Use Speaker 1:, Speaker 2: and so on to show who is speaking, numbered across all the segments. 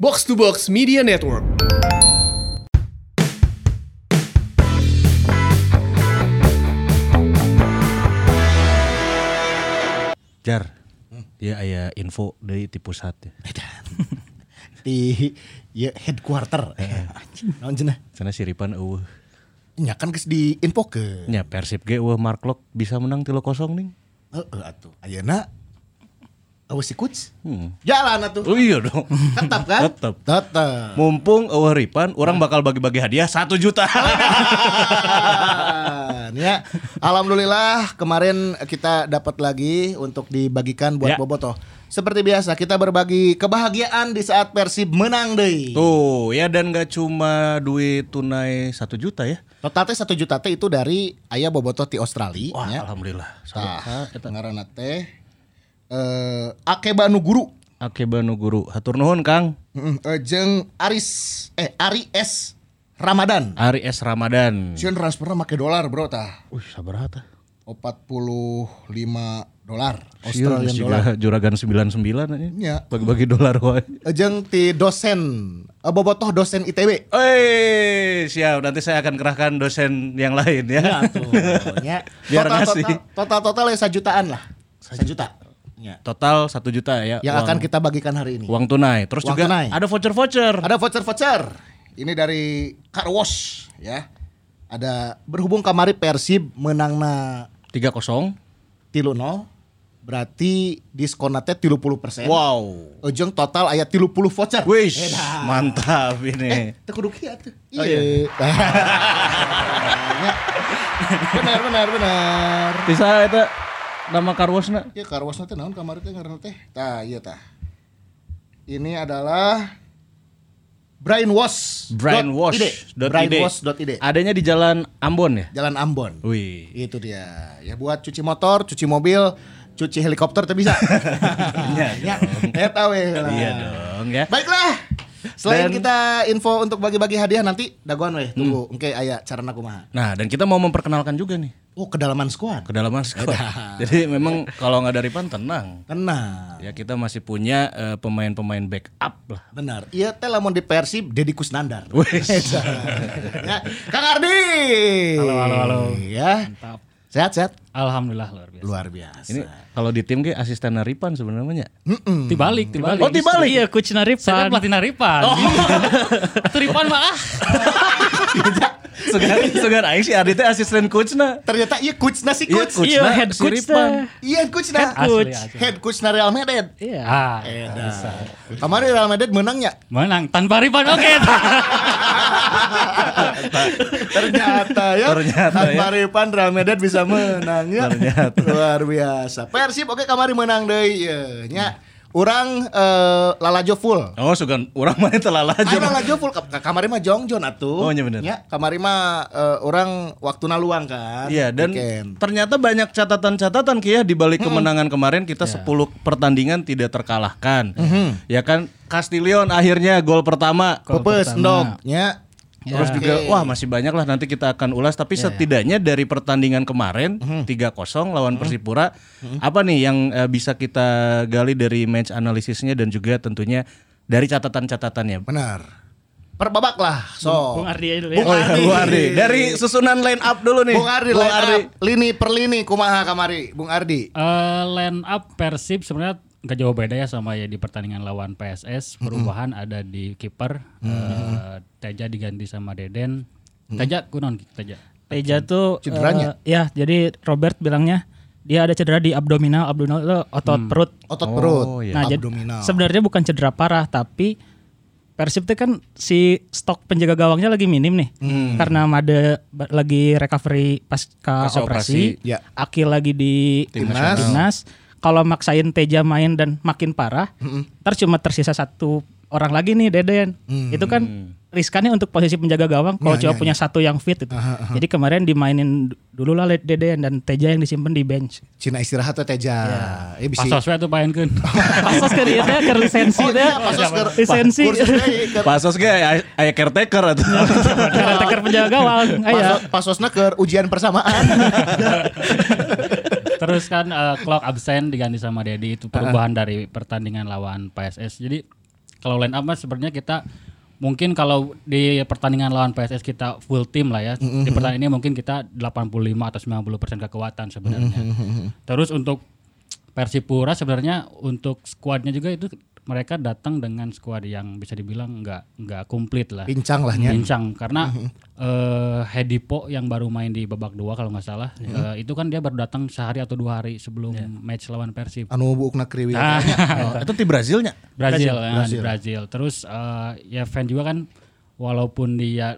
Speaker 1: Box to Box Media Network.
Speaker 2: Jar, dia aya info dari ti pusat ya.
Speaker 3: di ya, headquarter Eh, anjing naon cenah
Speaker 2: Sana siripan eueuh.
Speaker 3: nya kan geus diinfokeun
Speaker 2: Nya Persib ge eueuh Mark Lok bisa menang 3-0 ning.
Speaker 3: heeh atuh ayeuna eueuh si coach
Speaker 2: Hmm.
Speaker 3: jalan atuh
Speaker 2: Oh iya dong.
Speaker 3: tetap kan
Speaker 2: Tetep.
Speaker 3: tetap
Speaker 2: Mumpung eueuh Ripan, orang bakal bagi-bagi hadiah 1 juta.
Speaker 3: ya alhamdulillah kemarin kita dapat lagi untuk dibagikan buat
Speaker 2: Ya.
Speaker 3: bobotoh seperti biasa kita berbagi kebahagiaan di saat Persib menang deui
Speaker 2: Tuh, ya dan gak cuma duit tunai 1 juta ya.
Speaker 3: totalnya satu juta teh itu dari ayah bobotoh di Australia ya.
Speaker 2: Wah,
Speaker 3: nya.
Speaker 2: alhamdulillah.
Speaker 3: Tah, ngaranna teh eh Akebanu Guru.
Speaker 2: Akebanu guru, hatur nuhun Kang.
Speaker 3: Heeh, eh, jeung Aris eh Ari S Ramadan.
Speaker 2: Ari S Ramadan.
Speaker 3: Sieun transferna make dolar, Bro tah.
Speaker 2: Wih, sabar tah.
Speaker 3: 45 dolar
Speaker 2: Sieun,
Speaker 3: Australian
Speaker 2: juga
Speaker 3: dollar.
Speaker 2: Juragan 99 aja.
Speaker 3: Nya.
Speaker 2: Bagi-bagi dolar wae.
Speaker 3: Eh, jeung ti dosen eh, bobotoh dosen ITB.
Speaker 2: Eh, siap. Nanti saya akan kerahkan dosen yang lain ya.
Speaker 3: nya.
Speaker 2: Biar
Speaker 3: total,
Speaker 2: ngasih.
Speaker 3: total total total ya sajutaan lah. Sajuta. Nya.
Speaker 2: Total satu juta ya.
Speaker 3: Yang
Speaker 2: uang,
Speaker 3: akan kita bagikan hari ini.
Speaker 2: uang tunai. Terus
Speaker 3: Uang
Speaker 2: juga
Speaker 3: tunai.
Speaker 2: ada voucher-voucher.
Speaker 3: Ada voucher-voucher. Ini dari Car Wash ya. Ada berhubung kamari Persib menangna
Speaker 2: Tiga kosong.
Speaker 3: tilu nol berarti diskonnya teh tilu puluh persen.
Speaker 2: Wow.
Speaker 3: Ujung total ayat tilu puluh voucher.
Speaker 2: Wish,
Speaker 3: Edah.
Speaker 2: mantap ini.
Speaker 3: Teu kudu kieu atuh.
Speaker 2: Oh,
Speaker 3: Iya. benar benar benar.
Speaker 2: Bisa itu nama karwasna.
Speaker 3: Ya karwasna teh naon kamari teh ngaranna teh? Tah, iya tah. Ini adalah brainwash.
Speaker 2: Brainwash. dot id.
Speaker 3: Brainwash.id.
Speaker 2: Adanya di Jalan Ambon ya.
Speaker 3: Jalan Ambon.
Speaker 2: Wih.
Speaker 3: Itu dia. Ya buat cuci motor, cuci mobil, cuci helikopter tuh bisa. ya. Eta weh lah.
Speaker 2: Iya dong ya.
Speaker 3: Baiklah. Selain
Speaker 2: Dan- Hmm.
Speaker 3: kita info untuk bagi-bagi hadiah nanti dagoan weh tunggu engke aya carana kumaha.
Speaker 2: Nah, dan kita mau memperkenalkan juga nih
Speaker 3: Oh, kedalaman skuad.
Speaker 2: kedalaman squad. Jadi memang kalau nggak dari pan tenang.
Speaker 3: Tenang.
Speaker 2: Ya kita masih punya eh, pemain-pemain backup lah.
Speaker 3: Benar. Iya teh lamun di Persib Deddy Kusnandar.
Speaker 2: Wih.
Speaker 3: ya. Kang Ardi. Halo halo halo. Ya. Sehat-sehat.
Speaker 4: Alhamdulillah luar biasa.
Speaker 3: Luar biasa.
Speaker 2: Ini kalau di tim ge asisten Ripan sebenarnya.
Speaker 3: Mm-mm.
Speaker 4: Tibalik, tibalik.
Speaker 2: Oh, tibalik.
Speaker 4: Iya, Oh. coach Naripan. Saya pelatih Naripan. Atuh Ripan mah ah.
Speaker 2: Segan segan aing si Adi teh asisten coachna.
Speaker 3: Ternyata iya coachna si coach.
Speaker 2: coach.
Speaker 4: Iya,
Speaker 2: Coachna
Speaker 4: head
Speaker 2: si
Speaker 4: coach
Speaker 2: Ripan.
Speaker 4: teh.
Speaker 3: Iya coachna.
Speaker 4: Head coach.
Speaker 3: Asli, asli. Head coachna Real Madrid.
Speaker 4: Iya. Ah,
Speaker 3: Edan. Kemarin Real Madrid ya? menangnya.
Speaker 4: menang tanpa Ripan oke.
Speaker 3: Ternyata ya.
Speaker 2: Ternyata ya.
Speaker 3: Kemarin Pan Real Madrid bisa menang ya.
Speaker 2: Ternyata.
Speaker 3: Luar biasa. Persib oke kemarin menang deui ye nya. Urang eh, lalajo full.
Speaker 2: Oh, sugan urang mah teu
Speaker 3: Ah,
Speaker 2: lalajo.
Speaker 3: lalajo full Ka- kamari mah jongjon
Speaker 2: Eh, Oh,
Speaker 3: atuh.
Speaker 2: nya bener.
Speaker 3: Ya, kamari mah eh, urang waktuna luang kan.
Speaker 2: Iya dan
Speaker 3: Weekend.
Speaker 2: ternyata banyak catatan-catatan Ki, ya di balik kemenangan kemarin kita 10 pertandingan tidak terkalahkan. Ya kan Castillion akhirnya gol pertama.
Speaker 3: Pepes endog nya.
Speaker 2: Terus
Speaker 3: Ya. Oke. Ya,
Speaker 2: juga wah masih banyak lah nanti kita akan ulas tapi setidaknya dari pertandingan kemarin
Speaker 3: Hmm.
Speaker 2: 3-0 lawan Persipura apa nih yang eh, bisa kita gali dari match analisisnya dan juga tentunya dari catatan-catatannya.
Speaker 3: benar. Per babak lah. So.
Speaker 4: Bung Ardi aja dulu ya.
Speaker 3: Bung Ardi.
Speaker 2: Bu Oh, iya, Ardi, dari susunan line up dulu nih.
Speaker 3: Bung Ardi, line up. lini per lini kumaha kamari Bung Ardi.
Speaker 4: Eh, line up Persib sebenarnya nggak jauh beda ya sama ya di pertandingan lawan PSS perubahan ada di kiper Eh, Teja diganti sama Deden Teja kunon Teja
Speaker 5: Teja tuh
Speaker 3: Cederanya?
Speaker 5: eh, ya, jadi Robert bilangnya dia ada cedera di abdominal, abdominal itu otot perut.
Speaker 3: Otot perut.
Speaker 2: iya.
Speaker 5: Nah, jadi
Speaker 3: abdominal.
Speaker 5: sebenarnya bukan cedera parah, tapi Persib tuh kan si stok penjaga gawangnya lagi minim nih. Karena Made ba- lagi recovery pasca
Speaker 2: Pasca
Speaker 5: operasi,
Speaker 3: operasi. Ya.
Speaker 5: Akil lagi di
Speaker 3: Timnas.
Speaker 5: timnas. Kalau maksain Teja main dan makin parah, ntar cuma tersisa satu orang lagi nih Deden. Itu kan riskannya untuk posisi penjaga gawang kalau cuma punya satu yang fit itu. Jadi kemarin dimainin d- dulu lah Deden dan Teja yang disimpan di bench.
Speaker 3: Cina istirahat teh Teja. Eh bisi.
Speaker 4: Pasos we tuh paenkeun.
Speaker 5: Pasos ke dia teh, ke lisensi
Speaker 3: Oh,
Speaker 5: teh.
Speaker 3: iya, pasos ke-
Speaker 5: lisensi.
Speaker 3: kursus iya. deui, keur-
Speaker 2: Pasos ge aya aya caretaker
Speaker 3: Iya,
Speaker 2: atau
Speaker 5: Karena teker penjaga iya. gawang. Aya.
Speaker 3: pasos- Pasosna ke ujian persamaan.
Speaker 4: Terus kan eh, clock absen diganti sama Dedi itu perubahan dari pertandingan lawan PSS. Jadi kalau line up mah sebenarnya kita mungkin kalau di pertandingan lawan PSS kita full tim lah ya. Di pertandingan ini mungkin kita 85 atau 90% kekuatan sebenarnya. Terus untuk Persipura sebenarnya untuk skuadnya juga itu mereka datang dengan skuad yang bisa dibilang nggak nggak komplit lah.
Speaker 3: Pincang lah, Nyan.
Speaker 4: Pincang karena eh Hedi Po yang baru main di babak dua kalau nggak salah eh, itu kan dia baru datang sehari atau dua hari sebelum match lawan Persib.
Speaker 3: Anu buukna kriwil.
Speaker 2: Oh, itu di Brazilnya.
Speaker 4: Brazil, ya, di Brazil. Terus eh, ya fan juga kan walaupun dia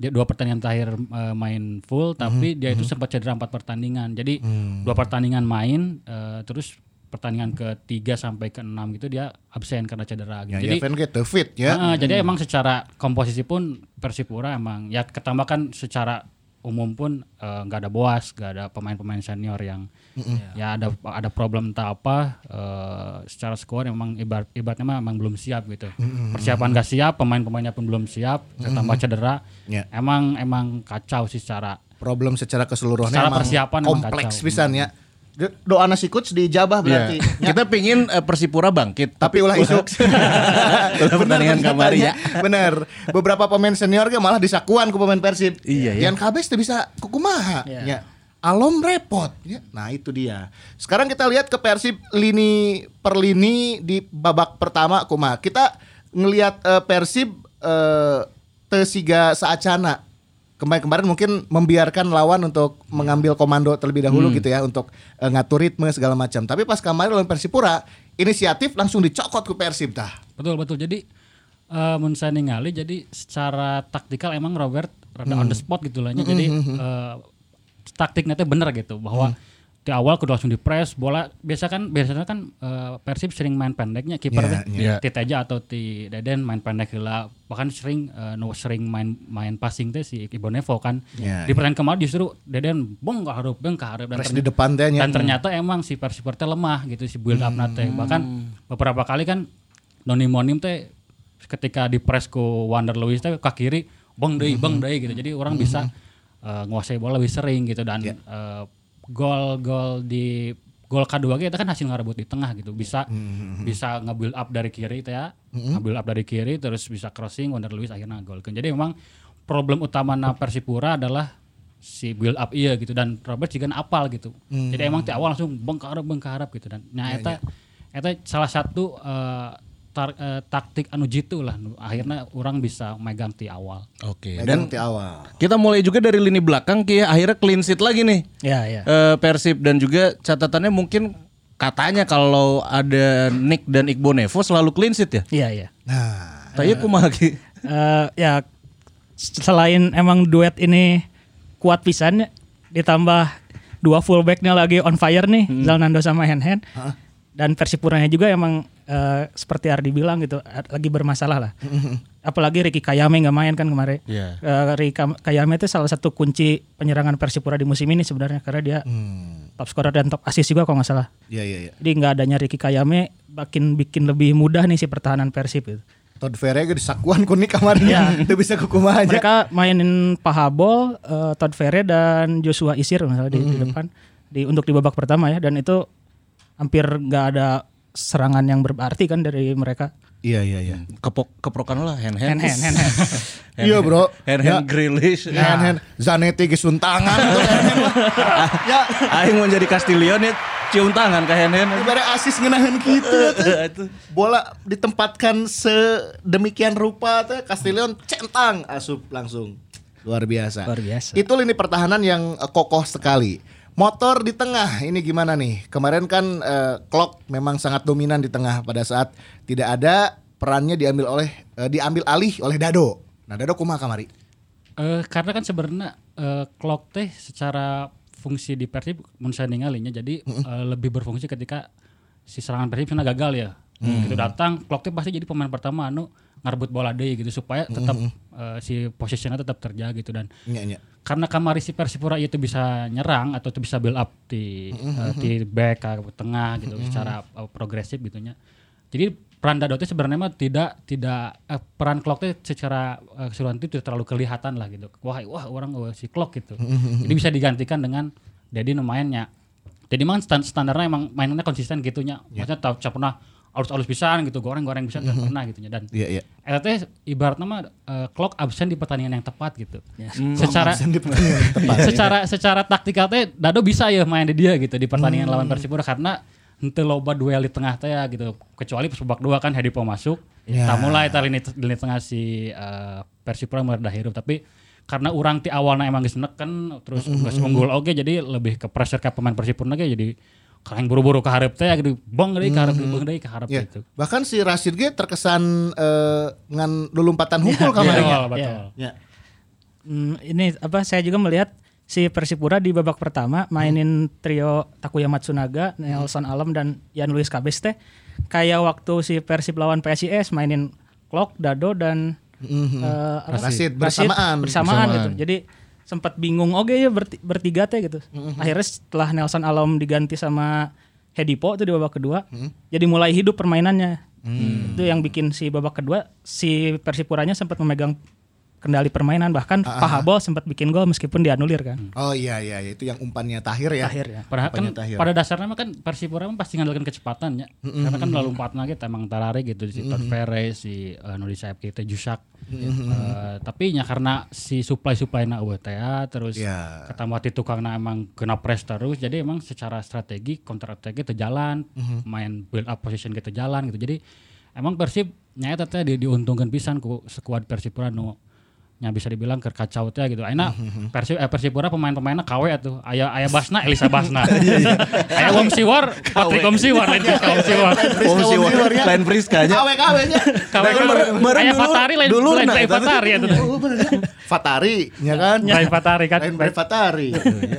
Speaker 4: dia dua pertandingan terakhir eh, main full tapi dia itu sempat cedera empat pertandingan. Jadi dua pertandingan main eh, terus pertandingan ketiga sampai ke enam gitu dia absen karena cedera gitu.
Speaker 3: Ya,
Speaker 4: Jadi Ah.
Speaker 3: ya fan kita fit ya.
Speaker 4: Heeh, jadi emang secara komposisi pun Persipura emang ya ketambah kan secara umum pun eh, nggak ada boas, nggak ada pemain-pemain senior yang ya ada ada problem entah apa eh, secara skor emang ibarat ibaratnya mah emang belum siap gitu. Persiapan nggak siap, pemain-pemainnya pun belum siap, tambah cedera.
Speaker 3: Ya.
Speaker 4: Emang emang kacau sih secara
Speaker 3: Problem secara keseluruhan
Speaker 4: Secara persiapan emang
Speaker 3: kompleks
Speaker 4: kacau.
Speaker 3: pisan ya. Do- Doa nasi coach di Jabah berarti.
Speaker 2: Iya. Kita pingin eh, Persipura bangkit.
Speaker 3: Tapi ulah isu.
Speaker 2: Ulah pertandingan kamari ya.
Speaker 3: Bener. Beberapa pemain senior ge malah disakuan ku pemain Persib.
Speaker 2: Iya, ya.
Speaker 3: Yang kabes teu bisa kukumaha.
Speaker 5: Iya.
Speaker 3: Ya. Alom repot. Ya. Nah itu dia. Sekarang kita lihat ke Persib lini per lini di babak pertama kumaha. Kita ngelihat eh, Persib eh, tesiga saacana. Kemarin-kemarin mungkin membiarkan lawan untuk mengambil komando terlebih dahulu
Speaker 2: Hmm.
Speaker 3: gitu ya untuk eh, ngatur ritme segala macam. Tapi pas kemarin lawan Persipura inisiatif langsung dicokot ke Persib tah.
Speaker 4: Betul betul. Jadi eh mun saya ningali jadi secara taktikal emang Robert rada on the
Speaker 3: Hmm.
Speaker 4: spot gitu lah nya. Jadi eh, taktiknya teh bener gitu bahwa
Speaker 3: Hmm.
Speaker 4: di awal kudu langsung di press bola biasa kan biasanya kan eh, Persib sering main pendeknya
Speaker 3: Iya,
Speaker 4: kiper teh
Speaker 2: iya.
Speaker 4: ti Teja atau ti Deden main pendek heula bahkan sering eh, nu sering main main passing teh si Ibonevo kan
Speaker 3: Iya,
Speaker 4: di pertandingan kemarin justru Deden bong ka hareup bong ka hareup dan
Speaker 3: Press
Speaker 4: ternyata-
Speaker 3: di depan teh nya. Hmm.
Speaker 4: dan ternyata emang si Persipor teh lemah gitu si build up na teh bahkan beberapa kali kan Noni Monim teh ketika di press ku Wander Lewis teh ke kiri bang deui bang deui gitu jadi orang bisa eh, nguasai bola lebih sering gitu dan eh, gol-gol di gol kedua kita kan hasil ngerebut di tengah gitu bisa bisa nge-build up dari kiri teh ya nge-build up dari kiri terus bisa crossing Wander Lewis akhirnya golkeun jadi memang problem utama na Persipura adalah si build up iya gitu dan Robert juga apal gitu. Jadi emang di awal langsung bengkarap bengkarap gitu dan nah eta eta salah satu eh, tar- eh, taktik anu jitu lah Nu akhirnya orang bisa megang di awal.
Speaker 2: Oke. Dan
Speaker 3: Dan di awal.
Speaker 2: kita mulai juga dari lini belakang Ki ya. akhirnya clean sheet lagi nih.
Speaker 5: Ya, ya.
Speaker 2: Eh, Persib dan juga catatannya mungkin katanya kalau ada Nick dan Iqbo Nevo selalu clean sheet ya.
Speaker 5: Iya, iya.
Speaker 3: Nah,
Speaker 2: Tapi kumaha Ki?
Speaker 5: Eh, ya selain emang duet ini kuat pisan ya, ditambah dua fullbacknya lagi on fire nih Zalnando sama Hen Hen dan Persipuranya juga emang eh, seperti Ardi bilang gitu eh, lagi bermasalah lah apalagi Ricky Kayame nggak main kan kemarin
Speaker 2: Iya.
Speaker 5: Eh, Ricky Kam- Kayame itu salah satu kunci penyerangan Persipura di musim ini sebenarnya karena dia top scorer dan top assist juga kalau nggak salah
Speaker 3: iya iya iya.
Speaker 5: jadi nggak adanya Ricky Kayame makin bikin lebih mudah nih si pertahanan Persib gitu.
Speaker 3: Todd Ferre ge disakuan kuning
Speaker 4: Iya.
Speaker 3: kamarnya. Teu bisa kukumaha aja.
Speaker 5: mereka mainin Pahabol, eh, Todd Ferre dan Joshua Isir misalnya di, di depan di untuk di babak pertama ya dan itu hampir nggak ada serangan yang berarti kan dari mereka.
Speaker 3: Iya iya iya.
Speaker 4: Hmm.
Speaker 2: Kepok keprokan lah hand hand.
Speaker 5: Hand hand hand. hand.
Speaker 3: Iya, bro.
Speaker 2: Hand
Speaker 3: Ya.
Speaker 2: hand Grealish.
Speaker 4: Nah.
Speaker 3: Hen hen Zanetti ge suntangan tuh hen-hen mah. Ya,
Speaker 2: Ah, Aing mau jadi Castillion ya cium tangan ke hand hand.
Speaker 3: ibarat asis ngeunaheun kitu teh.
Speaker 2: Itu.
Speaker 3: Bola ditempatkan sedemikian rupa teh Castillion centang asup langsung. Luar biasa.
Speaker 5: Luar biasa.
Speaker 3: Itu lini pertahanan yang eh, kokoh sekali. Motor di tengah ini gimana nih? Kemarin kan eh, Klopp memang sangat dominan di tengah pada saat tidak ada perannya diambil oleh eh, diambil alih oleh Dado. Nah, Dado kumaha kamari?
Speaker 4: Eh karena kan sebenarnya eh, clock teh secara fungsi di Persib mun saya ningalinya jadi eh, lebih berfungsi ketika si serangan Persib sana gagal ya. Gitu datang clock teh pasti jadi pemain pertama anu ngarbut bola deui gitu supaya tetap eh, si posisinya tetap terjaga gitu dan
Speaker 3: Nya nya.
Speaker 4: karena kamari si Persipura itu bisa nyerang atau itu bisa build up di
Speaker 3: Mm-hmm,
Speaker 4: eh, di back ke tengah gitu secara eh, progresif gitunya. Jadi peran Dado itu sebenarnya mah tidak tidak eh, peran Klok itu secara eh, keseluruhan itu tidak terlalu kelihatan lah gitu. Wah, wah orang wah, si Klok gitu.
Speaker 3: Mm-hmm.
Speaker 4: Jadi bisa digantikan dengan
Speaker 3: Iya.
Speaker 4: Dedi mainnya. Jadi emang stan- standarnya emang mainannya konsisten gitunya. Maksudnya tak tak pernah alus-alus pisan gitu, goreng-goreng pisan dan pernah gitu ya. Dan
Speaker 3: Iya, iya.
Speaker 4: eta teh ibaratnya mah eh, clock absen di pertandingan yang tepat gitu. Secara
Speaker 3: Absen di pertandingan tepat.
Speaker 4: secara secara taktikal teh Dado bisa ya main di dia gitu di pertandingan lawan Persipura karena henteu loba duel di tengah teh ya, gitu. Kecuali pas babak dua kan Hadi Po masuk,
Speaker 3: Ya.
Speaker 4: tamula eta lini, lini tengah si eh, Persipura meredah hirup tapi karena orang ti awalnya emang geus neken terus geus unggul oge jadi lebih ke pressure ke pemain Persipura ge jadi karena buru-buru ke hareup teh gitu bang deui ka hareup bang deui ka hareup
Speaker 3: Iya.
Speaker 4: gitu.
Speaker 3: Bahkan si Rashid ge terkesan eh, ngan lulumpatan hukum
Speaker 4: Betul,
Speaker 3: kamarnya.
Speaker 4: Iya, betul.
Speaker 3: Ya.
Speaker 5: Hmm, ini apa saya juga melihat si Persipura di babak pertama mainin trio Takuya Matsunaga, Nelson Alam dan Yan Luis Kabes teh kayak waktu si Persib lawan PSIS mainin Klok, Dado dan eh, apa?
Speaker 3: Rasid, Mm-hmm. bersamaan.
Speaker 5: bersamaan gitu.
Speaker 2: Bersamaan.
Speaker 5: Jadi sempat bingung oke ya berti- bertiga teh gitu.
Speaker 2: Hmm.
Speaker 5: Akhirnya setelah Nelson Alam diganti sama Hedipo itu di babak kedua,
Speaker 2: Hmm.
Speaker 5: jadi mulai hidup permainannya. Itu yang bikin si babak kedua si Persipuranya sempat memegang kendali permainan bahkan
Speaker 2: Ah,
Speaker 5: Pahabol sempat bikin gol meskipun dianulir kan.
Speaker 2: Hmm.
Speaker 3: Oh iya iya iya. itu yang umpannya Tahir ya.
Speaker 5: Tahir ya.
Speaker 4: Padahal kan
Speaker 3: Apanya Tahir?
Speaker 4: pada dasarnya mah kan Persipura mah pasti ngandalkan kecepatan ya. Karena kan lalu empat lagi emang tarare gitu si Todd Ferre, si uh, Nuri Saib kita Jusak. Eh, tapi nya karena si supply-supply na UTA ah, terus
Speaker 3: Ya.
Speaker 4: ketambah di tukangna emang kena press terus jadi emang secara strategi counter attack kita jalan,
Speaker 2: Mhm.
Speaker 4: main build up position kita jalan gitu. Jadi emang Persib nyata teh di, diuntungkan pisan ku skuad Persipura nu nya bisa dibilang kerkacau teh gitu. Aina
Speaker 2: Mhm,
Speaker 4: Persib eh, Persipura pemain-pemainnya KW atuh. Aya aya Basna, Elisa Basna.
Speaker 2: Iya,
Speaker 4: Aya Wong Siwar, Patrick Wong Siwar, lain Priska Wong Siwar.
Speaker 3: Priska
Speaker 2: Oh, si
Speaker 3: Wong Siwar, ya.
Speaker 2: Lain Priska nya.
Speaker 3: KW-KW-nya.
Speaker 2: Kan
Speaker 4: KW
Speaker 2: baru- baru
Speaker 4: aya
Speaker 2: dulu-
Speaker 4: Fatari lain
Speaker 2: dulu
Speaker 4: lain
Speaker 2: nah,
Speaker 4: Ray
Speaker 2: tapi-
Speaker 4: Fatari atuh.
Speaker 3: Oh, bener ya. Fatari, ya kan?
Speaker 4: Lain Fatari kan.
Speaker 3: Lain Ray Fatari. Iya,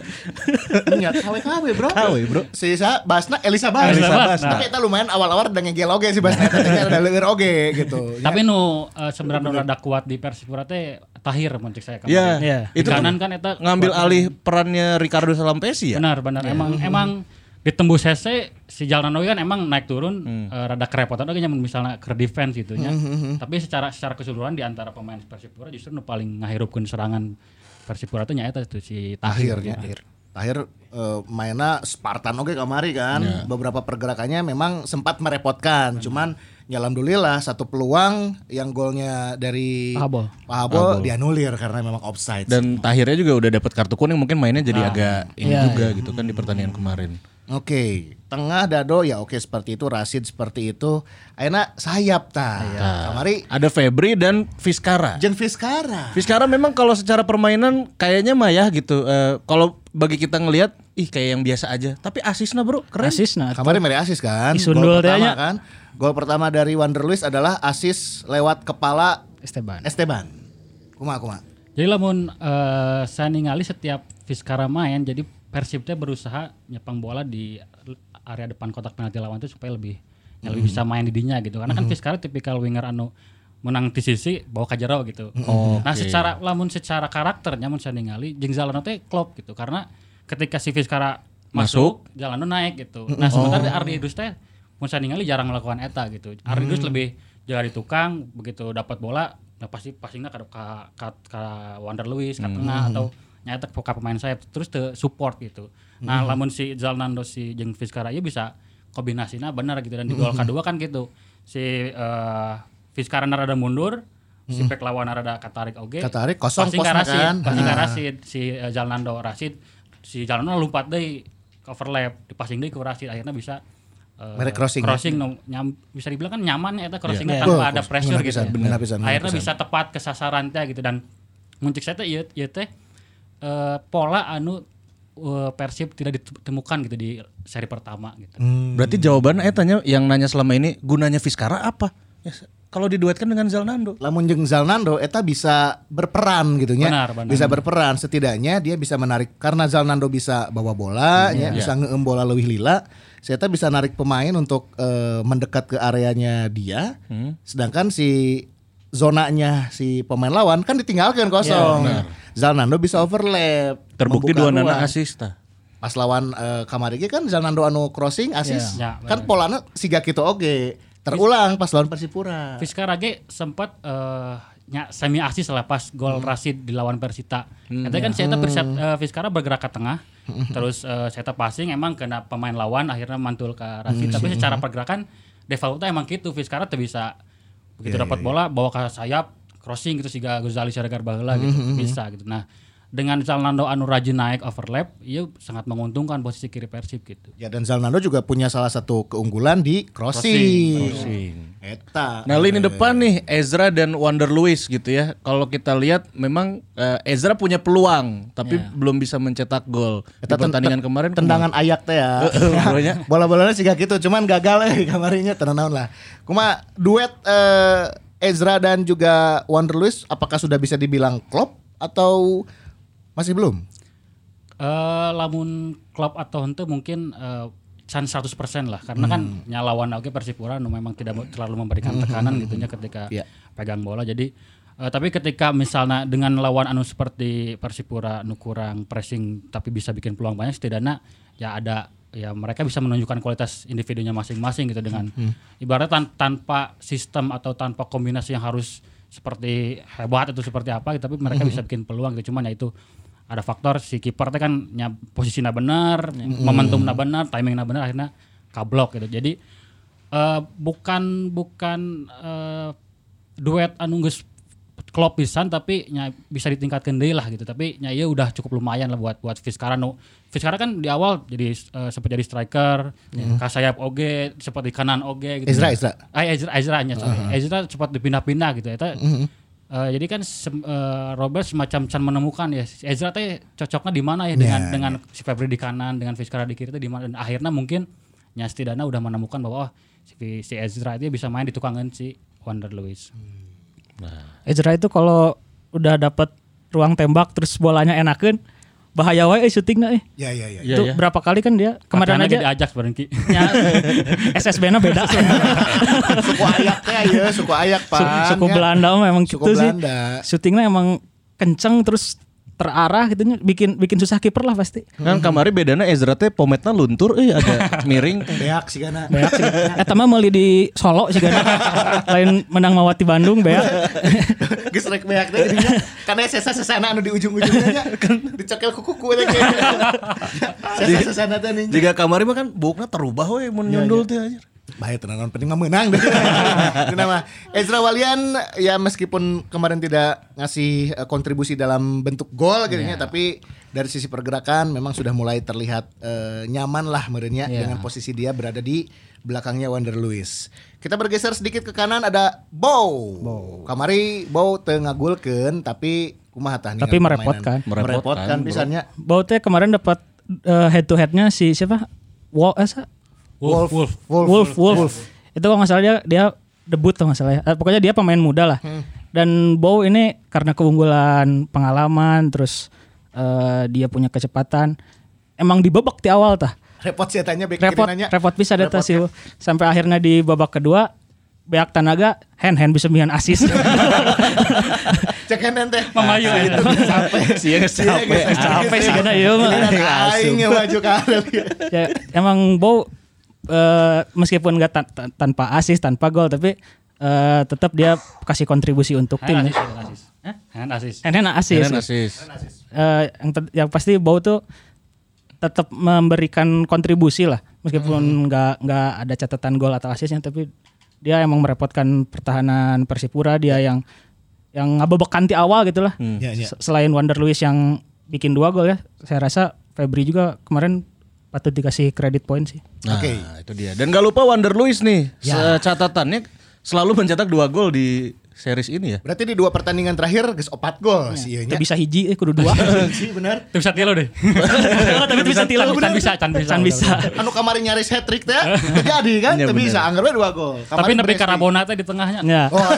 Speaker 3: Ingat KW-KW, Bro.
Speaker 2: KW, bro.
Speaker 3: Sisa Basna Elisa Basna.
Speaker 4: Elisa Basna.
Speaker 3: Tapi kita lumayan awal-awal udah ngegel oge sih Basna. Tapi ada leueur oge gitu.
Speaker 4: Tapi
Speaker 2: Ya.
Speaker 4: nu eh, sebenarnya rada kuat di Persipura teh Tahir muncik saya kemarin.
Speaker 2: Iya.
Speaker 5: Iya.
Speaker 4: Di
Speaker 2: Itu kan
Speaker 4: kanan kan eta
Speaker 2: ngambil alih perannya Ricardo Salampesi ya.
Speaker 4: Benar, benar. Emang emang ditembus hese si Jalnan Owi kan emang naik turun
Speaker 2: Hmm.
Speaker 4: eh, rada kerepotan oke nyamun misalnya ke defense gitu nya. Tapi secara secara keseluruhan di antara pemain Persipura justru nu paling ngahirupkeun serangan Persipura tuh nyaeta tuh si Tahir.
Speaker 2: ya.
Speaker 3: Tahirnya. Tahir eh, mainnya Spartan oge kamari kan. Beberapa pergerakannya memang sempat merepotkan. Cuman ya alhamdulillah satu peluang yang golnya dari
Speaker 5: Pahabol.
Speaker 3: Pahabol dianulir karena memang offside.
Speaker 2: Dan Tahirnya juga udah dapat kartu kuning mungkin mainnya jadi agak ini
Speaker 5: Iya,
Speaker 2: juga gitu kan di pertandingan kemarin.
Speaker 3: Oke, tengah dado ya oke seperti itu, Rasid seperti itu. Aina sayap ta. Iya. Kamari
Speaker 2: Ada Febri dan Fiskara.
Speaker 3: jeung Fiskara.
Speaker 2: Fiskara memang kalau secara permainan kayaknya mayah gitu. Eh, kalau bagi kita ngelihat ih kayak yang biasa aja. Tapi asisnya bro keren.
Speaker 5: Rasis nah.
Speaker 3: Kamari mere asis kan. Gol
Speaker 5: Isundul
Speaker 3: pertama
Speaker 5: tehnya.
Speaker 3: kan. Gol pertama dari Wander Luis adalah asis lewat kepala
Speaker 5: Esteban.
Speaker 3: Esteban. Kuma kuma.
Speaker 4: Jadi lamun eh, saya ningali setiap Fiskara main jadi Persib teh berusaha nyepang bola di area depan kotak penalti lawan tuh supaya lebih ya lebih bisa main di dinya gitu. Karena kan Fiskara tipikal winger anu menang di sisi bawa ka jero gitu. Nah, secara lamun secara karakternya mun saya ningali jeung Zalano teh klop gitu karena ketika si Fiskara masuk, Zalano naik gitu. Nah, sementara
Speaker 3: Oh.
Speaker 4: Ardi Idrus teh mun saya ningali jarang melakukan eta gitu. Ardi Idrus lebih jaga di tukang begitu dapat bola nah pasti passingnya ke ke ke, ke Wander Lewis ke tengah atau nyata ke ke pemain sayap terus te support gitu. Nah, lamun si Zalnando si jeung Fiskara ieu bisa kombinasinya benar gitu dan di gol kedua kan gitu. Si eh, Fiskara na rada mundur, si bek lawan rada katarik oge.
Speaker 3: Katarik, kosong
Speaker 4: Passing ka
Speaker 3: posnya
Speaker 4: Rasid,
Speaker 3: kan.
Speaker 4: passing ka
Speaker 3: Ah.
Speaker 4: Rasid, si eh, Zalnando Rasid, si Zalnando lompat deui ke overlap, dipassing deui ke Rasid akhirnya bisa eh,
Speaker 3: Mere crossing. ya?
Speaker 4: no, nyam- bisa dibilang kan nyaman eta crossingnya
Speaker 3: Iya.
Speaker 4: tanpa
Speaker 3: Bener,
Speaker 4: ada
Speaker 3: bener
Speaker 4: pressure gitu.
Speaker 3: pisan,
Speaker 4: ya.
Speaker 3: bener pisan, bener
Speaker 4: Akhirnya
Speaker 3: pisan.
Speaker 4: bisa tepat ke sasaran teh gitu dan muncik saya teh ieu ieu teh eh, pola anu eh, Persib tidak ditemukan gitu di seri pertama gitu.
Speaker 2: Berarti jawabannya eh tanya yang nanya selama ini gunanya Fiskara apa? Ya, se- kalau diduetkan dengan Zalnando.
Speaker 3: Lamun jeung Zalnando eta bisa berperan gitu nya.
Speaker 4: Benar, benar.
Speaker 3: Bisa berperan setidaknya dia bisa menarik karena Zalnando bisa bawa bola
Speaker 2: Hmm, iya.
Speaker 3: ya, bisa ngeem bola leuwih lila. Si Eta bisa narik pemain untuk eh, mendekat ke areanya dia.
Speaker 2: Hmm.
Speaker 3: Sedangkan si zonanya si pemain lawan kan ditinggalkan kosong. Zalnando bisa overlap.
Speaker 2: Iya, Terbukti
Speaker 3: membuka
Speaker 2: dua nana
Speaker 3: ruang.
Speaker 2: asista.
Speaker 3: Pas lawan eh, kamari ge kan Zalnando anu crossing asis.
Speaker 4: Ya.
Speaker 2: Iya.
Speaker 4: Ya,
Speaker 3: kan polanya siga kitu oge. Terulang pas lawan Persipura.
Speaker 4: Fiskara ge sempat eh, nya semi asis lah pas gol Rasid dilawan Persita. Katanya kan Seta Persit, eh, Fiskara bergerak ke tengah, terus eh, Seta passing emang kena pemain lawan akhirnya mantul ke Rasid. Tapi secara pergerakan developnya emang gitu Fis karena tuh bisa begitu dapat bola bawa ke sayap crossing gitu sehingga Gozali Siregar baheula gitu bisa gitu. Nah, dengan Zalando Anuraji naik overlap, iya sangat menguntungkan posisi kiri Persib gitu.
Speaker 3: Ya dan Zalnando juga punya salah satu keunggulan di crossing. Eta.
Speaker 2: Nah lini depan nih Ezra dan Wander Luis gitu ya. Kalau kita lihat memang eh, Ezra punya peluang tapi belum bisa mencetak gol. Di
Speaker 3: Eta ten-
Speaker 2: pertandingan
Speaker 3: Ya. ten-
Speaker 2: kemarin
Speaker 3: tendangan ayak teh ya.
Speaker 2: Heeh, bolanya.
Speaker 3: Bola-bolanya sih gak gitu, cuman gagal eh kamarinya tenang lah. Kuma duet eh, Ezra dan juga Wander Luis apakah sudah bisa dibilang klop atau masih belum?
Speaker 4: Eh lamun klub atau henteu mungkin eh can 100% lah karena kan nyalawan oke Persipura nu memang tidak mau- terlalu memberikan tekanan gitu ya ketika
Speaker 3: Iya.
Speaker 4: pegang bola jadi eh, tapi ketika misalnya dengan lawan anu seperti Persipura nu kurang pressing tapi bisa bikin peluang banyak setidaknya ya ada ya mereka bisa menunjukkan kualitas individunya masing-masing gitu dengan ibarat tan- tanpa sistem atau tanpa kombinasi yang harus seperti hebat atau seperti apa gitu, tapi mereka bisa bikin peluang gitu cuman ya itu ada faktor si kiper teh kan nya posisinya benar, momentumnya benar, timingnya benar akhirnya kablok gitu. Jadi eh, bukan bukan eh, duet anu geus klop pisan tapi nya bisa ditingkatkan deui lah gitu. Tapi nya ieu udah cukup lumayan lah buat buat Fiskara nu Fiskara kan di awal jadi eh, sempat jadi striker, ka sayap oge, sempat di kanan oge gitu.
Speaker 3: Hmm. Ezra, Ezra.
Speaker 4: Ah, Ezra, Ezra-nya sorry. Ezra cepat dipindah-pindah gitu. Eta, eh, jadi kan sem- eh, Robert semacam can menemukan ya si Ezra teh cocoknya di mana ya dengan dengan si Febri di kanan, dengan Fiskara di kiri teh di mana dan akhirnya mungkin ya setidaknya udah menemukan bahwa oh, si, si Ezra itu bisa main di tukangan si Wander Lewis.
Speaker 5: Ezra itu kalau udah dapat ruang tembak terus bolanya enakan bahaya wae eh, syutingna eh.
Speaker 3: Ya ya ya.
Speaker 2: Iya,
Speaker 5: itu
Speaker 2: iya.
Speaker 5: berapa kali kan dia kemarin
Speaker 4: Makanya
Speaker 5: aja
Speaker 4: dia diajak berhenti.
Speaker 5: ya, SSB-nya beda.
Speaker 3: suku ayak teh ya, suku ayak
Speaker 5: Su-
Speaker 3: pan.
Speaker 5: suku
Speaker 3: ya.
Speaker 5: Belanda mah emang
Speaker 3: Suku
Speaker 5: gitu
Speaker 3: Belanda.
Speaker 5: sih. Syutingnya emang kenceng terus terarah gitu nya, bikin bikin susah kiper lah pasti.
Speaker 2: Kan kamari bedana Ezra teh pometna luntur eh agak miring.
Speaker 3: Beak sih kana.
Speaker 5: Beak sih. Eta mah meuli di Solo sih kan. Lain menang Mawati Bandung beak.
Speaker 3: Geus rek beak teh jadinya. Karena sesa-sesana anu di ujung-ujungnya nya, dicekel kuku-kuku teh. Sesa-sesana teh anu nih.
Speaker 2: Jika kamari mah kan bukna terubah we mun nyundul teh anjir.
Speaker 3: Bahaya tenanan penting mah menang deh. Cina mah. Ezra Walian ya meskipun kemarin tidak ngasih eh, kontribusi dalam bentuk gol gitu nya,
Speaker 5: Iya.
Speaker 3: tapi dari sisi pergerakan memang sudah mulai terlihat eh, nyaman lah merenya
Speaker 5: Iya.
Speaker 3: dengan posisi dia berada di belakangnya Wander Lewis. Kita bergeser sedikit ke kanan ada Bow. Kamari Bow teu ngagulkeun tapi kumaha tah
Speaker 5: Tapi
Speaker 3: ningali
Speaker 5: merepotkan.
Speaker 3: permainan. Merepotkan
Speaker 2: Merepotkan, bro.
Speaker 3: pisannya.
Speaker 5: Bau teh kemarin dapat eh, head to headnya si siapa? Wall eh, sa-
Speaker 4: Wolf, Wolf.
Speaker 5: Wolf, Wolf, Itu kalau nggak salah dia dia debut kalau nggak salah. ya. Eh, Pokoknya dia pemain muda lah. Dan Bow ini karena keunggulan pengalaman, terus eh, dia punya kecepatan, emang dibebak di awal tah.
Speaker 3: Repot sih tanya back
Speaker 5: Repot,
Speaker 3: kiri nanya.
Speaker 5: repot bisa data
Speaker 3: Repot, ya?
Speaker 5: sih. Sampai akhirnya di babak kedua, Beak Tanaga hand hand bisa bikin asis.
Speaker 3: Cek kanan teh.
Speaker 4: Mamayu,
Speaker 3: Nah,
Speaker 4: Ezra.
Speaker 3: itu geus capek.
Speaker 2: Sia geus
Speaker 3: Sia
Speaker 2: capek.
Speaker 3: geus
Speaker 5: Capek sih kena ieu mah.
Speaker 3: Giliran Aing yang maju ke arah dia.
Speaker 5: ya, emang Bow eh, meskipun nggak tan- tan- tanpa asis, tanpa gol, tapi eh, tetap dia kasih kontribusi untuk tim.
Speaker 4: Hand
Speaker 5: ya.
Speaker 4: assist, hand assist. Hand assist.
Speaker 5: Hand hand asis.
Speaker 2: Keren asis.
Speaker 5: eh yang, tet- yang pasti bau tuh tetap memberikan kontribusi lah meskipun nggak nggak ada catatan gol atau asisnya tapi dia emang merepotkan pertahanan Persipura dia yang yang ngabebekan di awal gitu lah
Speaker 3: Ya, ya.
Speaker 5: Se- selain Wander Luis yang bikin dua gol ya saya rasa Febri juga kemarin patut dikasih kredit poin sih
Speaker 2: Nah,
Speaker 3: Oke.
Speaker 2: itu dia. Dan gak lupa Wander Luis nih, se- catatannya selalu mencetak dua gol di series ini ya.
Speaker 3: Berarti di dua pertandingan terakhir geus opat gol si ieu
Speaker 5: itu
Speaker 3: nya.
Speaker 5: bisa hiji eh kudu dua
Speaker 3: Sih bener.
Speaker 4: Tim Satya lo deh.
Speaker 5: tapi bisa tilu
Speaker 4: Can- can bisa, can bisa.
Speaker 5: Can bisa.
Speaker 3: Anu kamari nyaris hat trick teh teu jadi kan
Speaker 2: Iya,
Speaker 3: teu
Speaker 2: bener.
Speaker 3: bisa anggar we dua gol.
Speaker 4: Tapi
Speaker 3: Kamarin Oh, iya.
Speaker 4: nepi
Speaker 3: Presti.
Speaker 4: Karabona teh di tengahnya.
Speaker 5: ya
Speaker 3: Oh,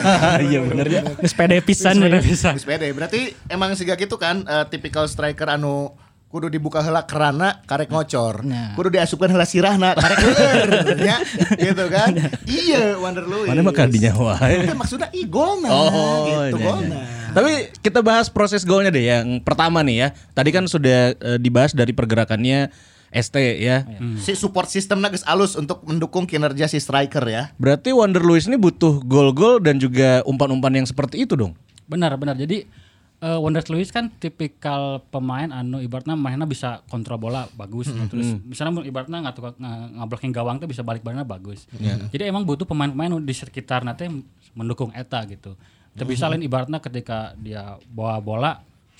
Speaker 2: Iya bener ya.
Speaker 5: Geus pede pisan ya.
Speaker 4: Bisa.
Speaker 3: geus pede. Berarti emang siga gitu kan eh, tipikal striker anu kudu dibuka heula kerana karek ngocor. Kudu diasupkan heula sirahna karek heueur nya. Gitu kan? Iya, Wander Luis.
Speaker 2: Mana mah kadinya wae.
Speaker 3: Tapi maksudnya ih golna
Speaker 2: Oh,
Speaker 3: gitu
Speaker 2: iya, iya.
Speaker 3: golna.
Speaker 2: Tapi kita bahas proses golnya deh yang pertama nih ya. Tadi kan sudah eh, dibahas dari pergerakannya ST ya.
Speaker 3: Si support sistemnya geus alus untuk mendukung kinerja si striker ya.
Speaker 2: Berarti Wander Luis ini butuh gol-gol dan juga umpan-umpan yang seperti itu dong.
Speaker 4: Benar, benar. Jadi eh Wonders Lewis kan tipikal pemain anu ibaratnya mainnya bisa kontrol bola bagus gitu. terus misalnya ibaratnya ngatuk ngablokin gawang tuh bisa balik badannya bagus. Jadi emang butuh pemain-pemain di sekitar nanti mendukung eta gitu. Tapi bisa lain ibaratnya ketika dia bawa bola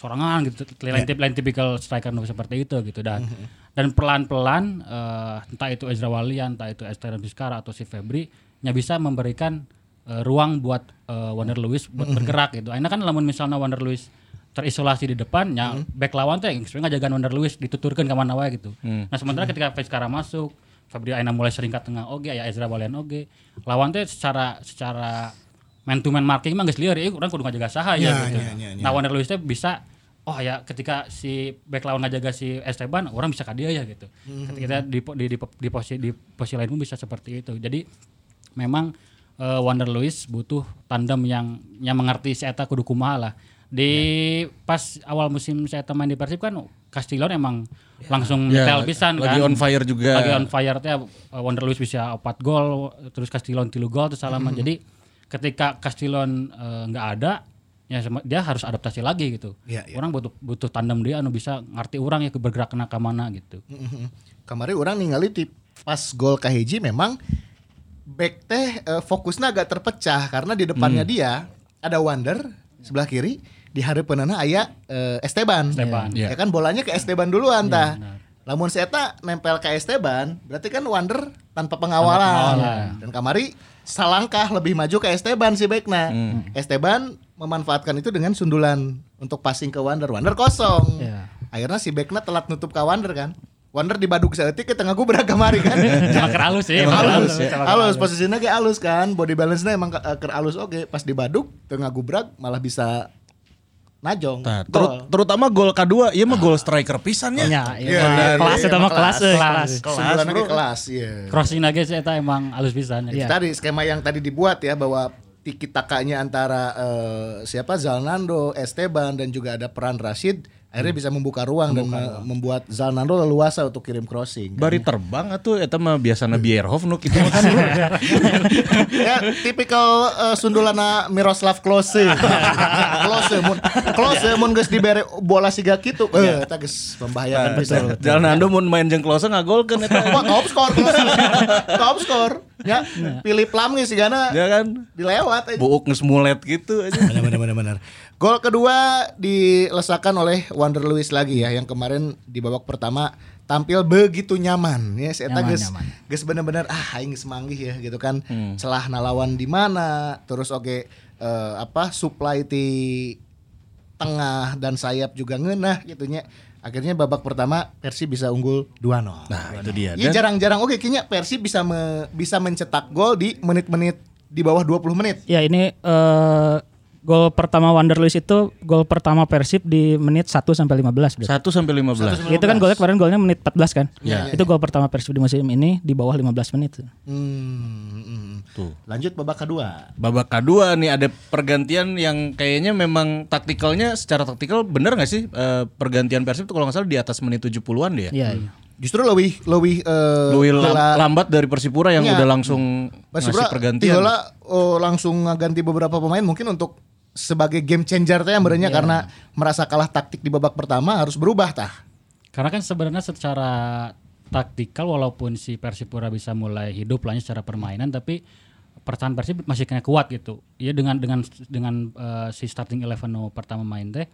Speaker 4: sorangan gitu lain tip lain tipikal striker nu seperti itu gitu dan dan pelan-pelan eh, entah itu Ezra Walian entah itu Esteban Vizcara atau si Febri nya bisa memberikan eh, ruang buat eh, Wander Lewis buat
Speaker 3: Mm-hmm.
Speaker 4: bergerak gitu. Akhirnya kan lamun misalnya Wander Lewis terisolasi di depannya,
Speaker 3: Mm-hmm.
Speaker 4: back lawan tuh yang sebenarnya ngajagaan Wander Lewis dituturkan ke mana wae gitu.
Speaker 3: Mm.
Speaker 4: Nah, sementara ketika Vizcara masuk, Fabri Aina mulai sering ke tengah oge, aya Ezra Walian oge. Lawan teh secara secara man to man marking mah geus liar, ieu urang kudu ngajaga saha
Speaker 3: Ya,
Speaker 4: ya, gitu.
Speaker 3: ya, ya, ya.
Speaker 4: Nah, Wander Lewis teh bisa Oh ya, ketika si back lawan ngajaga si Esteban, orang bisa ke dia ya gitu.
Speaker 3: Mm-hmm.
Speaker 4: Ketika di po- di di, po- di posisi di posisi lain pun bisa seperti itu. Jadi memang eh, Wander Lewis butuh tandem yang yang mengerti si Eta kudu kumaha lah. Di pas awal musim saya main di Persib kan Castillon emang langsung
Speaker 2: Ya,
Speaker 4: nyetel pisan
Speaker 2: lagi
Speaker 4: kan.
Speaker 2: on fire juga.
Speaker 4: Lagi on fire teh eh, Wander Lewis bisa 4 gol terus Castillon 3 gol terus salaman. Jadi ketika Castillon eh, nggak ada ya sama- dia harus adaptasi lagi gitu.
Speaker 3: Iya, iya.
Speaker 4: Orang butuh butuh tandem dia anu bisa ngerti orang ya bergerak kena ke mana gitu.
Speaker 3: Mm-hmm. Kemarin orang ningali di pas gol Kahiji memang back teh eh, fokusnya agak terpecah karena di depannya dia ada Wander sebelah kiri di hari penana aya eh, Esteban.
Speaker 4: Esteban.
Speaker 3: Ya. Ya kan bolanya ke Esteban duluan tah. Lamun si Eta nempel ke Esteban, berarti kan Wander tanpa pengawalan.
Speaker 4: pengawalan.
Speaker 3: Dan kamari salangkah lebih maju ke Esteban si Bekna. Esteban memanfaatkan itu dengan sundulan untuk passing ke Wander. Wander kosong.
Speaker 5: Iya.
Speaker 3: Akhirnya si Bekna telat nutup ke Wander kan. Wander dibaduk seetik ke tengah gubrak kamari kan.
Speaker 4: Emang keralus sih, emang
Speaker 3: halus, ya,
Speaker 4: keralus.
Speaker 3: halus, posisinya kayak halus kan. Body balance-nya emang ke- ke halus oke. Pas dibaduk tengah gubrak malah bisa najong.
Speaker 2: Nah,
Speaker 3: Gol.
Speaker 2: terut- terutama gol K2, iya mah gol striker pisannya.
Speaker 5: Ya,
Speaker 3: Iya, iya,
Speaker 5: iya. kelas
Speaker 3: iya,
Speaker 5: itu mah kelas, eh, kelas.
Speaker 3: Sundulannya ke kelas, iya.
Speaker 4: Crossing lagi si Eta emang halus pisan.
Speaker 5: Iya.
Speaker 3: Tadi skema yang tadi dibuat ya bahwa tiki takanya antara eh, siapa Zalnando, Esteban dan juga ada peran Rashid akhirnya bisa Hmm. membuka ruang dan me- membuat Zalnando leluasa untuk kirim crossing.
Speaker 2: Bari terbang atuh eta mah biasana Bierhoff nu kitu mah kan. Bro.
Speaker 3: ya tipikal eh, sundulana Miroslav Klose. Klose mun Klose mun geus dibere bola siga kitu eh eta geus membahayakan pisan.
Speaker 2: Jalan Ando mun main jeung Klose ngagolkeun eta.
Speaker 3: Wah, top skor Klose. top skor. Ya, pilih plam geus sigana
Speaker 2: Ya kan?
Speaker 3: dilewat aja.
Speaker 2: Buuk geus mulet gitu aja.
Speaker 3: Benar benar benar benar. Gol kedua dilesakan oleh Wander Lewis lagi ya yang kemarin di babak pertama tampil begitu nyaman ya si eta
Speaker 5: Nyaman,
Speaker 3: geus
Speaker 5: nyaman.
Speaker 3: geus bener-bener ah aing geus manggih ya gitu kan.
Speaker 2: Hmm.
Speaker 3: Celah nalawan di mana, terus oke eh, apa supply di tengah dan sayap juga ngeunah gitu nya. Akhirnya babak pertama Persib bisa unggul 2-0.
Speaker 2: Nah, itu dia.
Speaker 3: Iya
Speaker 2: Dan
Speaker 3: jarang-jarang oke kayaknya Persib bisa me- bisa mencetak gol di menit-menit di bawah 20 menit.
Speaker 5: Ya ini eh, gol pertama Wander Lewis itu gol pertama Persib di menit 1 sampai 15 berarti.
Speaker 2: 1 sampai 15.
Speaker 5: Itu kan golnya kemarin golnya menit 14 kan? Itu gol pertama Persib di musim ini di bawah 15 menit. Iya,
Speaker 3: Hmm.
Speaker 2: Tuh.
Speaker 3: Lanjut babak kedua.
Speaker 2: Babak kedua nih ada pergantian yang kayaknya memang taktikalnya secara taktikal bener gak sih Eh, pergantian Persib tuh kalau nggak salah di atas menit 70-an dia.
Speaker 5: Iya. iya.
Speaker 3: Justru lebih lebih eh,
Speaker 2: Luil lam-
Speaker 3: bola-
Speaker 2: lambat dari Persipura yang
Speaker 3: Iya.
Speaker 2: udah langsung
Speaker 3: Persipura
Speaker 2: ngasih pergantian.
Speaker 3: Tihola, oh, langsung ganti beberapa pemain mungkin untuk sebagai game changer teh yang berenya
Speaker 5: Iya.
Speaker 3: karena merasa kalah taktik di babak pertama harus berubah tah.
Speaker 4: Karena kan sebenarnya secara taktikal walaupun si Persipura bisa mulai hidup lahnya secara permainan tapi pertahanan Persib masih kena kuat gitu. Iya dengan dengan dengan eh, si starting eleven nu pertama main teh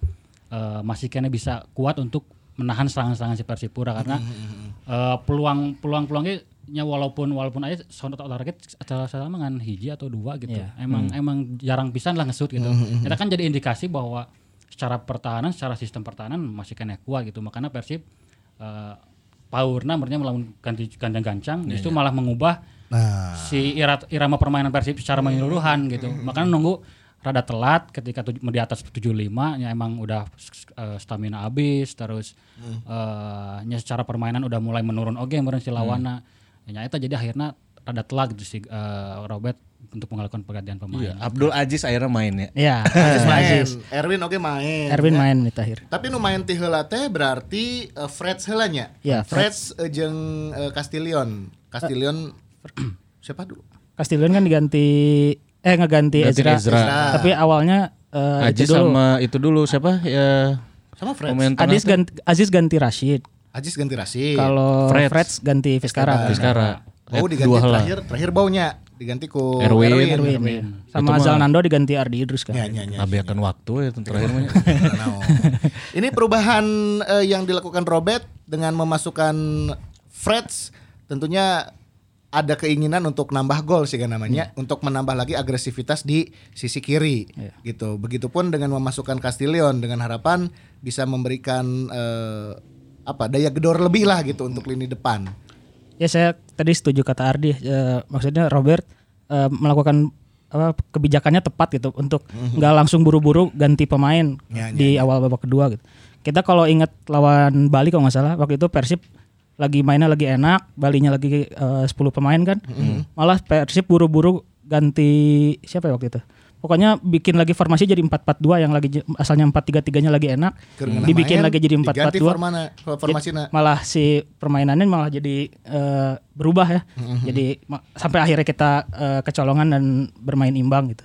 Speaker 4: eh, masih kena bisa kuat untuk menahan serangan-serangan si Persipura karena eh, peluang peluang peluangnya nya walaupun walaupun aja sound atau target salah salah mangan hiji atau dua gitu. Emang emang jarang pisan lah ngesut gitu. Kita kan jadi indikasi bahwa secara pertahanan, secara sistem pertahanan masih kena kuat gitu. Makanya Persib eh powernya merenya melawan ganti gancang-gancang, justru malah mengubah si ira- irama permainan Persib secara menyeluruhan gitu. Makanya nunggu rada telat ketika tuj- di atas 75 ya emang udah s- eh, stamina habis terus eh, nya secara permainan udah mulai menurun oke meren si lawana. Ya, nyata jadi akhirnya rada telat gitu si eh, Robert untuk melakukan pergantian
Speaker 2: Iya,
Speaker 4: pemain.
Speaker 2: Abdul Aziz akhirnya main ya.
Speaker 5: Iya.
Speaker 3: Aziz main, Erwin oke main.
Speaker 5: Erwin main menit akhir.
Speaker 3: Tapi nu main ti heula teh berarti eh, Freds heula nya.
Speaker 5: Iya,
Speaker 3: Freds eh, jeung eh, Castillion. Castillion siapa dulu?
Speaker 5: Castillion kan diganti eh ngeganti
Speaker 2: Ganti
Speaker 5: Ezra.
Speaker 2: Ezra.
Speaker 5: Tapi awalnya eh,
Speaker 2: Aji
Speaker 5: itu dulu.
Speaker 2: sama itu dulu siapa ya
Speaker 3: Sama Freds.
Speaker 2: pemain tengah
Speaker 5: Adis
Speaker 2: tuh?
Speaker 5: ganti, Aziz ganti Rashid.
Speaker 3: Ajis ganti Rashid.
Speaker 5: Kalau
Speaker 2: Freds.
Speaker 5: Freds. ganti Vizcara.
Speaker 2: Vizcara.
Speaker 3: Bau
Speaker 2: Eh,
Speaker 3: diganti
Speaker 2: dua heula.
Speaker 3: terakhir, terakhir baunya diganti ku
Speaker 2: Erwin.
Speaker 5: Erwin, iya.
Speaker 2: Itu
Speaker 5: Sama
Speaker 2: mah-
Speaker 5: Zalnando diganti Ardi Idrus kan.
Speaker 3: Ya, ya, ya.
Speaker 2: Tabiakan waktu ya itu terakhir mah.
Speaker 3: Nah, Ini perubahan eh, yang dilakukan Robert dengan memasukkan Freds tentunya ada keinginan untuk nambah gol sih kan namanya
Speaker 5: Hmm.
Speaker 3: untuk menambah lagi agresivitas di sisi kiri
Speaker 5: Iya.
Speaker 3: gitu. Begitupun dengan memasukkan Castillion dengan harapan bisa memberikan eh, apa daya gedor lebih lah gitu untuk lini depan.
Speaker 5: Ya saya tadi setuju kata Ardi. Eh, maksudnya Robert eh, melakukan apa, kebijakannya tepat gitu untuk nggak langsung buru-buru ganti pemain
Speaker 3: Mhm. Ya, ya,
Speaker 5: di awal babak kedua gitu. Kita kalau ingat lawan Bali kalau nggak salah waktu itu Persib lagi mainnya lagi enak, Balinya lagi eh, 10 pemain kan.
Speaker 3: Mhm.
Speaker 5: Malah Persib buru-buru ganti siapa ya waktu itu? Pokoknya bikin lagi formasi jadi 4-4-2 yang lagi je- asalnya 4-3-3-nya lagi enak,
Speaker 3: Kerengenan
Speaker 5: Hmm. dibikin
Speaker 3: main,
Speaker 5: lagi jadi
Speaker 3: diganti
Speaker 5: 4-4-2
Speaker 3: formana,
Speaker 5: Iya.
Speaker 3: formasinya.
Speaker 5: malah si permainannya malah jadi eh, berubah ya. Jadi ma- sampai akhirnya kita eh, kecolongan dan bermain imbang gitu.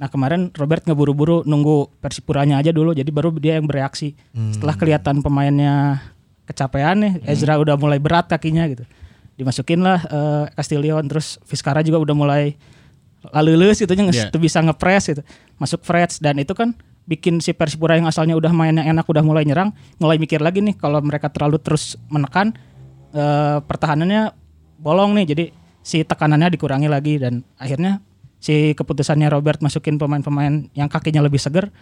Speaker 5: Nah kemarin Robert ngeburu-buru nunggu Persipuranya aja dulu, jadi baru dia yang bereaksi. Setelah kelihatan pemainnya kecapean nih, Ezra udah mulai berat kakinya gitu. Dimasukin lah eh, Castillion, terus Vizcara juga udah mulai lalu lulus gitu
Speaker 2: Iya.
Speaker 5: itu bisa ngepres gitu masuk Freds dan itu kan bikin si Persipura yang asalnya udah mainnya enak udah mulai nyerang mulai mikir lagi nih kalau mereka terlalu terus menekan eh, pertahanannya bolong nih jadi si tekanannya dikurangi lagi dan akhirnya si keputusannya Robert masukin pemain-pemain yang kakinya lebih seger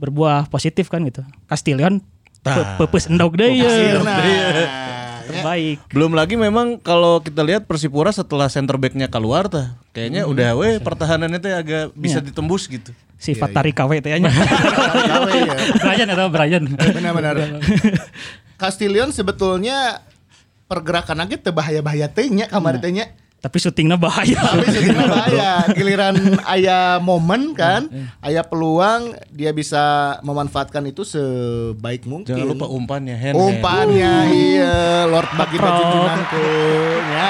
Speaker 5: berbuah positif kan gitu Castillion pe- pepes endog deh ya.
Speaker 3: Nah.
Speaker 5: terbaik
Speaker 2: Belum lagi memang kalau kita lihat Persipura setelah center back-nya keluar tah, kayaknya udah weh pertahanannya tuh agak bisa ditembus gitu.
Speaker 5: sifat tarik KW teh nya
Speaker 3: Tahu ya.
Speaker 4: Brian atau Brian.
Speaker 3: Benar-benar. Castillion sebetulnya pergerakan lagi tebahaya-bahaya tehnya
Speaker 2: Iya.
Speaker 3: kamar tehnya.
Speaker 5: tapi syutingnya bahaya
Speaker 3: Tapi sebenarnya bahaya. Giliran ayah momen kan,
Speaker 2: Iya,
Speaker 3: ayah peluang dia bisa memanfaatkan itu sebaik mungkin.
Speaker 2: Jangan lupa ya. umpannya hand.
Speaker 3: umpannya
Speaker 2: Uh.
Speaker 3: iya Lord bagi baju junangku ya.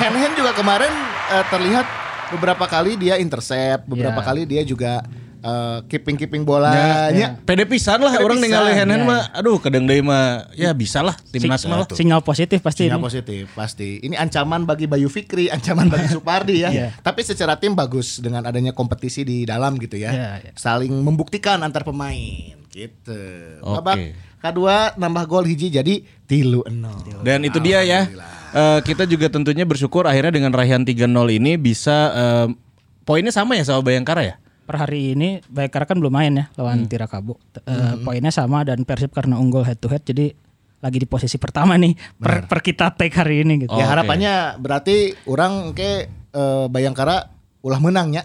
Speaker 3: Hand hand juga kemarin eh, terlihat beberapa kali dia intercept,
Speaker 2: Iya.
Speaker 3: beberapa
Speaker 4: Ya.
Speaker 3: kali dia juga eh, keeping keeping bolanya.
Speaker 2: Pede pisan lah
Speaker 3: eh, ya. Pede
Speaker 2: orang
Speaker 3: pisan,
Speaker 2: ningali hand hand
Speaker 5: ya,
Speaker 2: mah aduh kadang deui mah ya bisa lah timnas
Speaker 5: Sing-
Speaker 2: mah lah.
Speaker 5: sinyal positif pasti
Speaker 3: Sinyal
Speaker 5: ini.
Speaker 3: positif pasti. Ini ancaman bagi Bayu Fikri, ancaman bagi Supardi ya.
Speaker 5: Iya.
Speaker 3: Tapi secara tim bagus dengan adanya kompetisi di dalam gitu ya.
Speaker 5: Iya, iya.
Speaker 3: Saling membuktikan antar pemain gitu.
Speaker 2: Oke.
Speaker 3: Babak kedua nambah gol hiji jadi tilu enol.
Speaker 2: Dan itu dia ya. Eh, kita juga tentunya bersyukur akhirnya dengan raihan 3-0 ini bisa eh, poinnya sama ya sama Bayangkara ya.
Speaker 5: per hari ini Bayangkara kan belum main ya lawan
Speaker 3: Hmm.
Speaker 5: Tirakabo. T- eh, Poinnya sama dan Persib karena unggul head to head jadi lagi di posisi pertama nih per, per kita take hari ini gitu.
Speaker 2: Oh,
Speaker 3: ya
Speaker 2: oke.
Speaker 3: harapannya berarti orang ke eh, Bayangkara ulah ya. menangnya.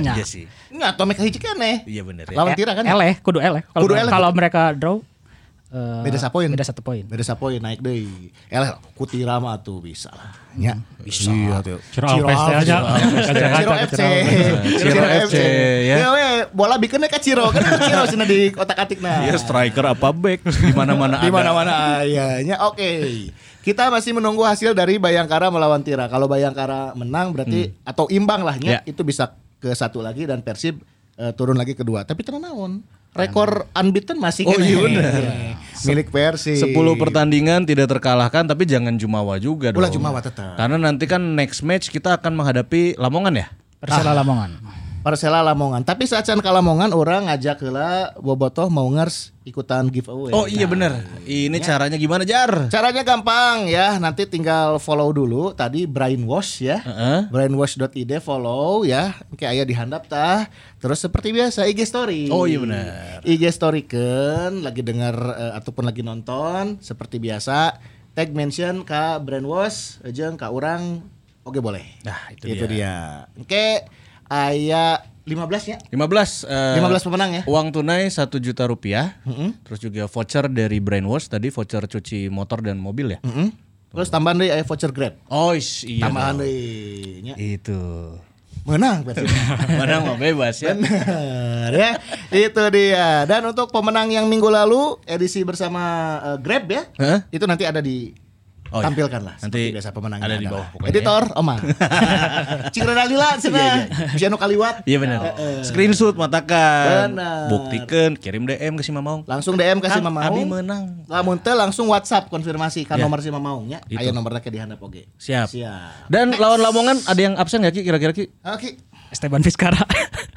Speaker 5: Nah,
Speaker 2: Iya sih.
Speaker 3: Nggak, Tomek hiji keneh.
Speaker 2: Iya bener ya.
Speaker 3: Lawan
Speaker 5: eh,
Speaker 3: Tira kan.
Speaker 5: eleh, kudu eleh. Kalau
Speaker 3: Kudu eleh.
Speaker 5: kalau mereka draw eh,
Speaker 3: Beda satu poin. Ah.
Speaker 5: Beda satu poin.
Speaker 3: Beda sapoin naik deui. Eleh kutira mah tuh bisa lah.
Speaker 2: Iya.
Speaker 3: Ya, bisa.
Speaker 4: Ciro Alves teh aja.
Speaker 3: Ciro FC.
Speaker 2: Ciro FC, ya.
Speaker 3: Ya we, bola bikinnya ke Ciro, kan ke Ciro sini di otak-atik nah.
Speaker 2: Iya striker apa back di mana-mana
Speaker 3: Di
Speaker 2: ada.
Speaker 3: mana-mana ayahnya. Oke. Kita masih menunggu hasil dari Bayangkara melawan Tira. Kalau Bayangkara menang berarti atau imbang lah
Speaker 2: Ya.
Speaker 3: nya, itu bisa ke satu lagi dan Persib eh, turun lagi kedua. Tapi tenang naon. Rekor unbeaten masih
Speaker 2: Oh,
Speaker 3: kene.
Speaker 2: iya bener.
Speaker 3: Milik Persib.
Speaker 2: 10 pertandingan tidak terkalahkan tapi jangan jumawa juga dong.
Speaker 3: Ulah jumawa tetap.
Speaker 2: Karena nanti kan next match kita akan menghadapi Lamongan ya.
Speaker 5: Persela Lamongan.
Speaker 3: Persela Lamongan. Tapi saat can Lamongan orang ngajak heula bobotoh mau ngers ikutan giveaway. Nah,
Speaker 2: Oh iya bener. Ini caranya gimana Jar?
Speaker 3: Caranya gampang ya, nanti tinggal follow dulu tadi brainwash ya.
Speaker 2: Heeh.
Speaker 3: Brainwash.id follow ya. Oke, aya dihandap tah. Terus seperti biasa IG story.
Speaker 2: Oh, iya benar.
Speaker 3: IG story kan lagi dengar eh, ataupun lagi nonton seperti biasa tag mention ka brainwash jeung ka urang oke boleh.
Speaker 2: Nah, itu
Speaker 3: dia. Oke, aya 15 ya.
Speaker 2: 15 eh,
Speaker 3: 15 pemenang ya.
Speaker 2: Uang tunai 1 juta rupiah. Terus juga voucher dari Brainwash tadi voucher cuci motor dan mobil ya.
Speaker 3: Mm-mm. Terus tambahan deui aya voucher Grab.
Speaker 2: Oh is- iya.
Speaker 3: Tambahan deui nya.
Speaker 2: Itu.
Speaker 3: Menang berarti.
Speaker 2: Padahal mah bebas ya.
Speaker 3: Benar ya. Itu dia. Dan untuk pemenang yang minggu lalu edisi bersama eh, Grab ya.
Speaker 2: Hah?
Speaker 3: Itu nanti ada di
Speaker 2: Oh, iya.
Speaker 3: Tampilkanlah
Speaker 2: Nanti
Speaker 3: seperti biasa pemenangnya
Speaker 2: ada di
Speaker 3: adalah
Speaker 2: bawah pokoknya ya.
Speaker 3: Editor Oma. Cingra Dalila sana. Jano Kaliwat.
Speaker 2: Iya benar. Screenshot matakan.
Speaker 3: Benar.
Speaker 2: Buktikan, kirim DM ke si Mamaung.
Speaker 3: Langsung DM kasih
Speaker 2: Kang,
Speaker 3: Mama Maung.
Speaker 2: Kan, Abi menang.
Speaker 3: Lamun teu langsung WhatsApp konfirmasi kan
Speaker 2: Ya.
Speaker 3: nomor si Mama Maung nya.
Speaker 2: Itu.
Speaker 3: Aya nomorna ke dihandap oge.
Speaker 2: Siap.
Speaker 3: Siap.
Speaker 2: Dan lawan Lamongan ada yang absen gak Ki kira-kira Ki?
Speaker 3: Oke.
Speaker 5: Esteban Vizcara.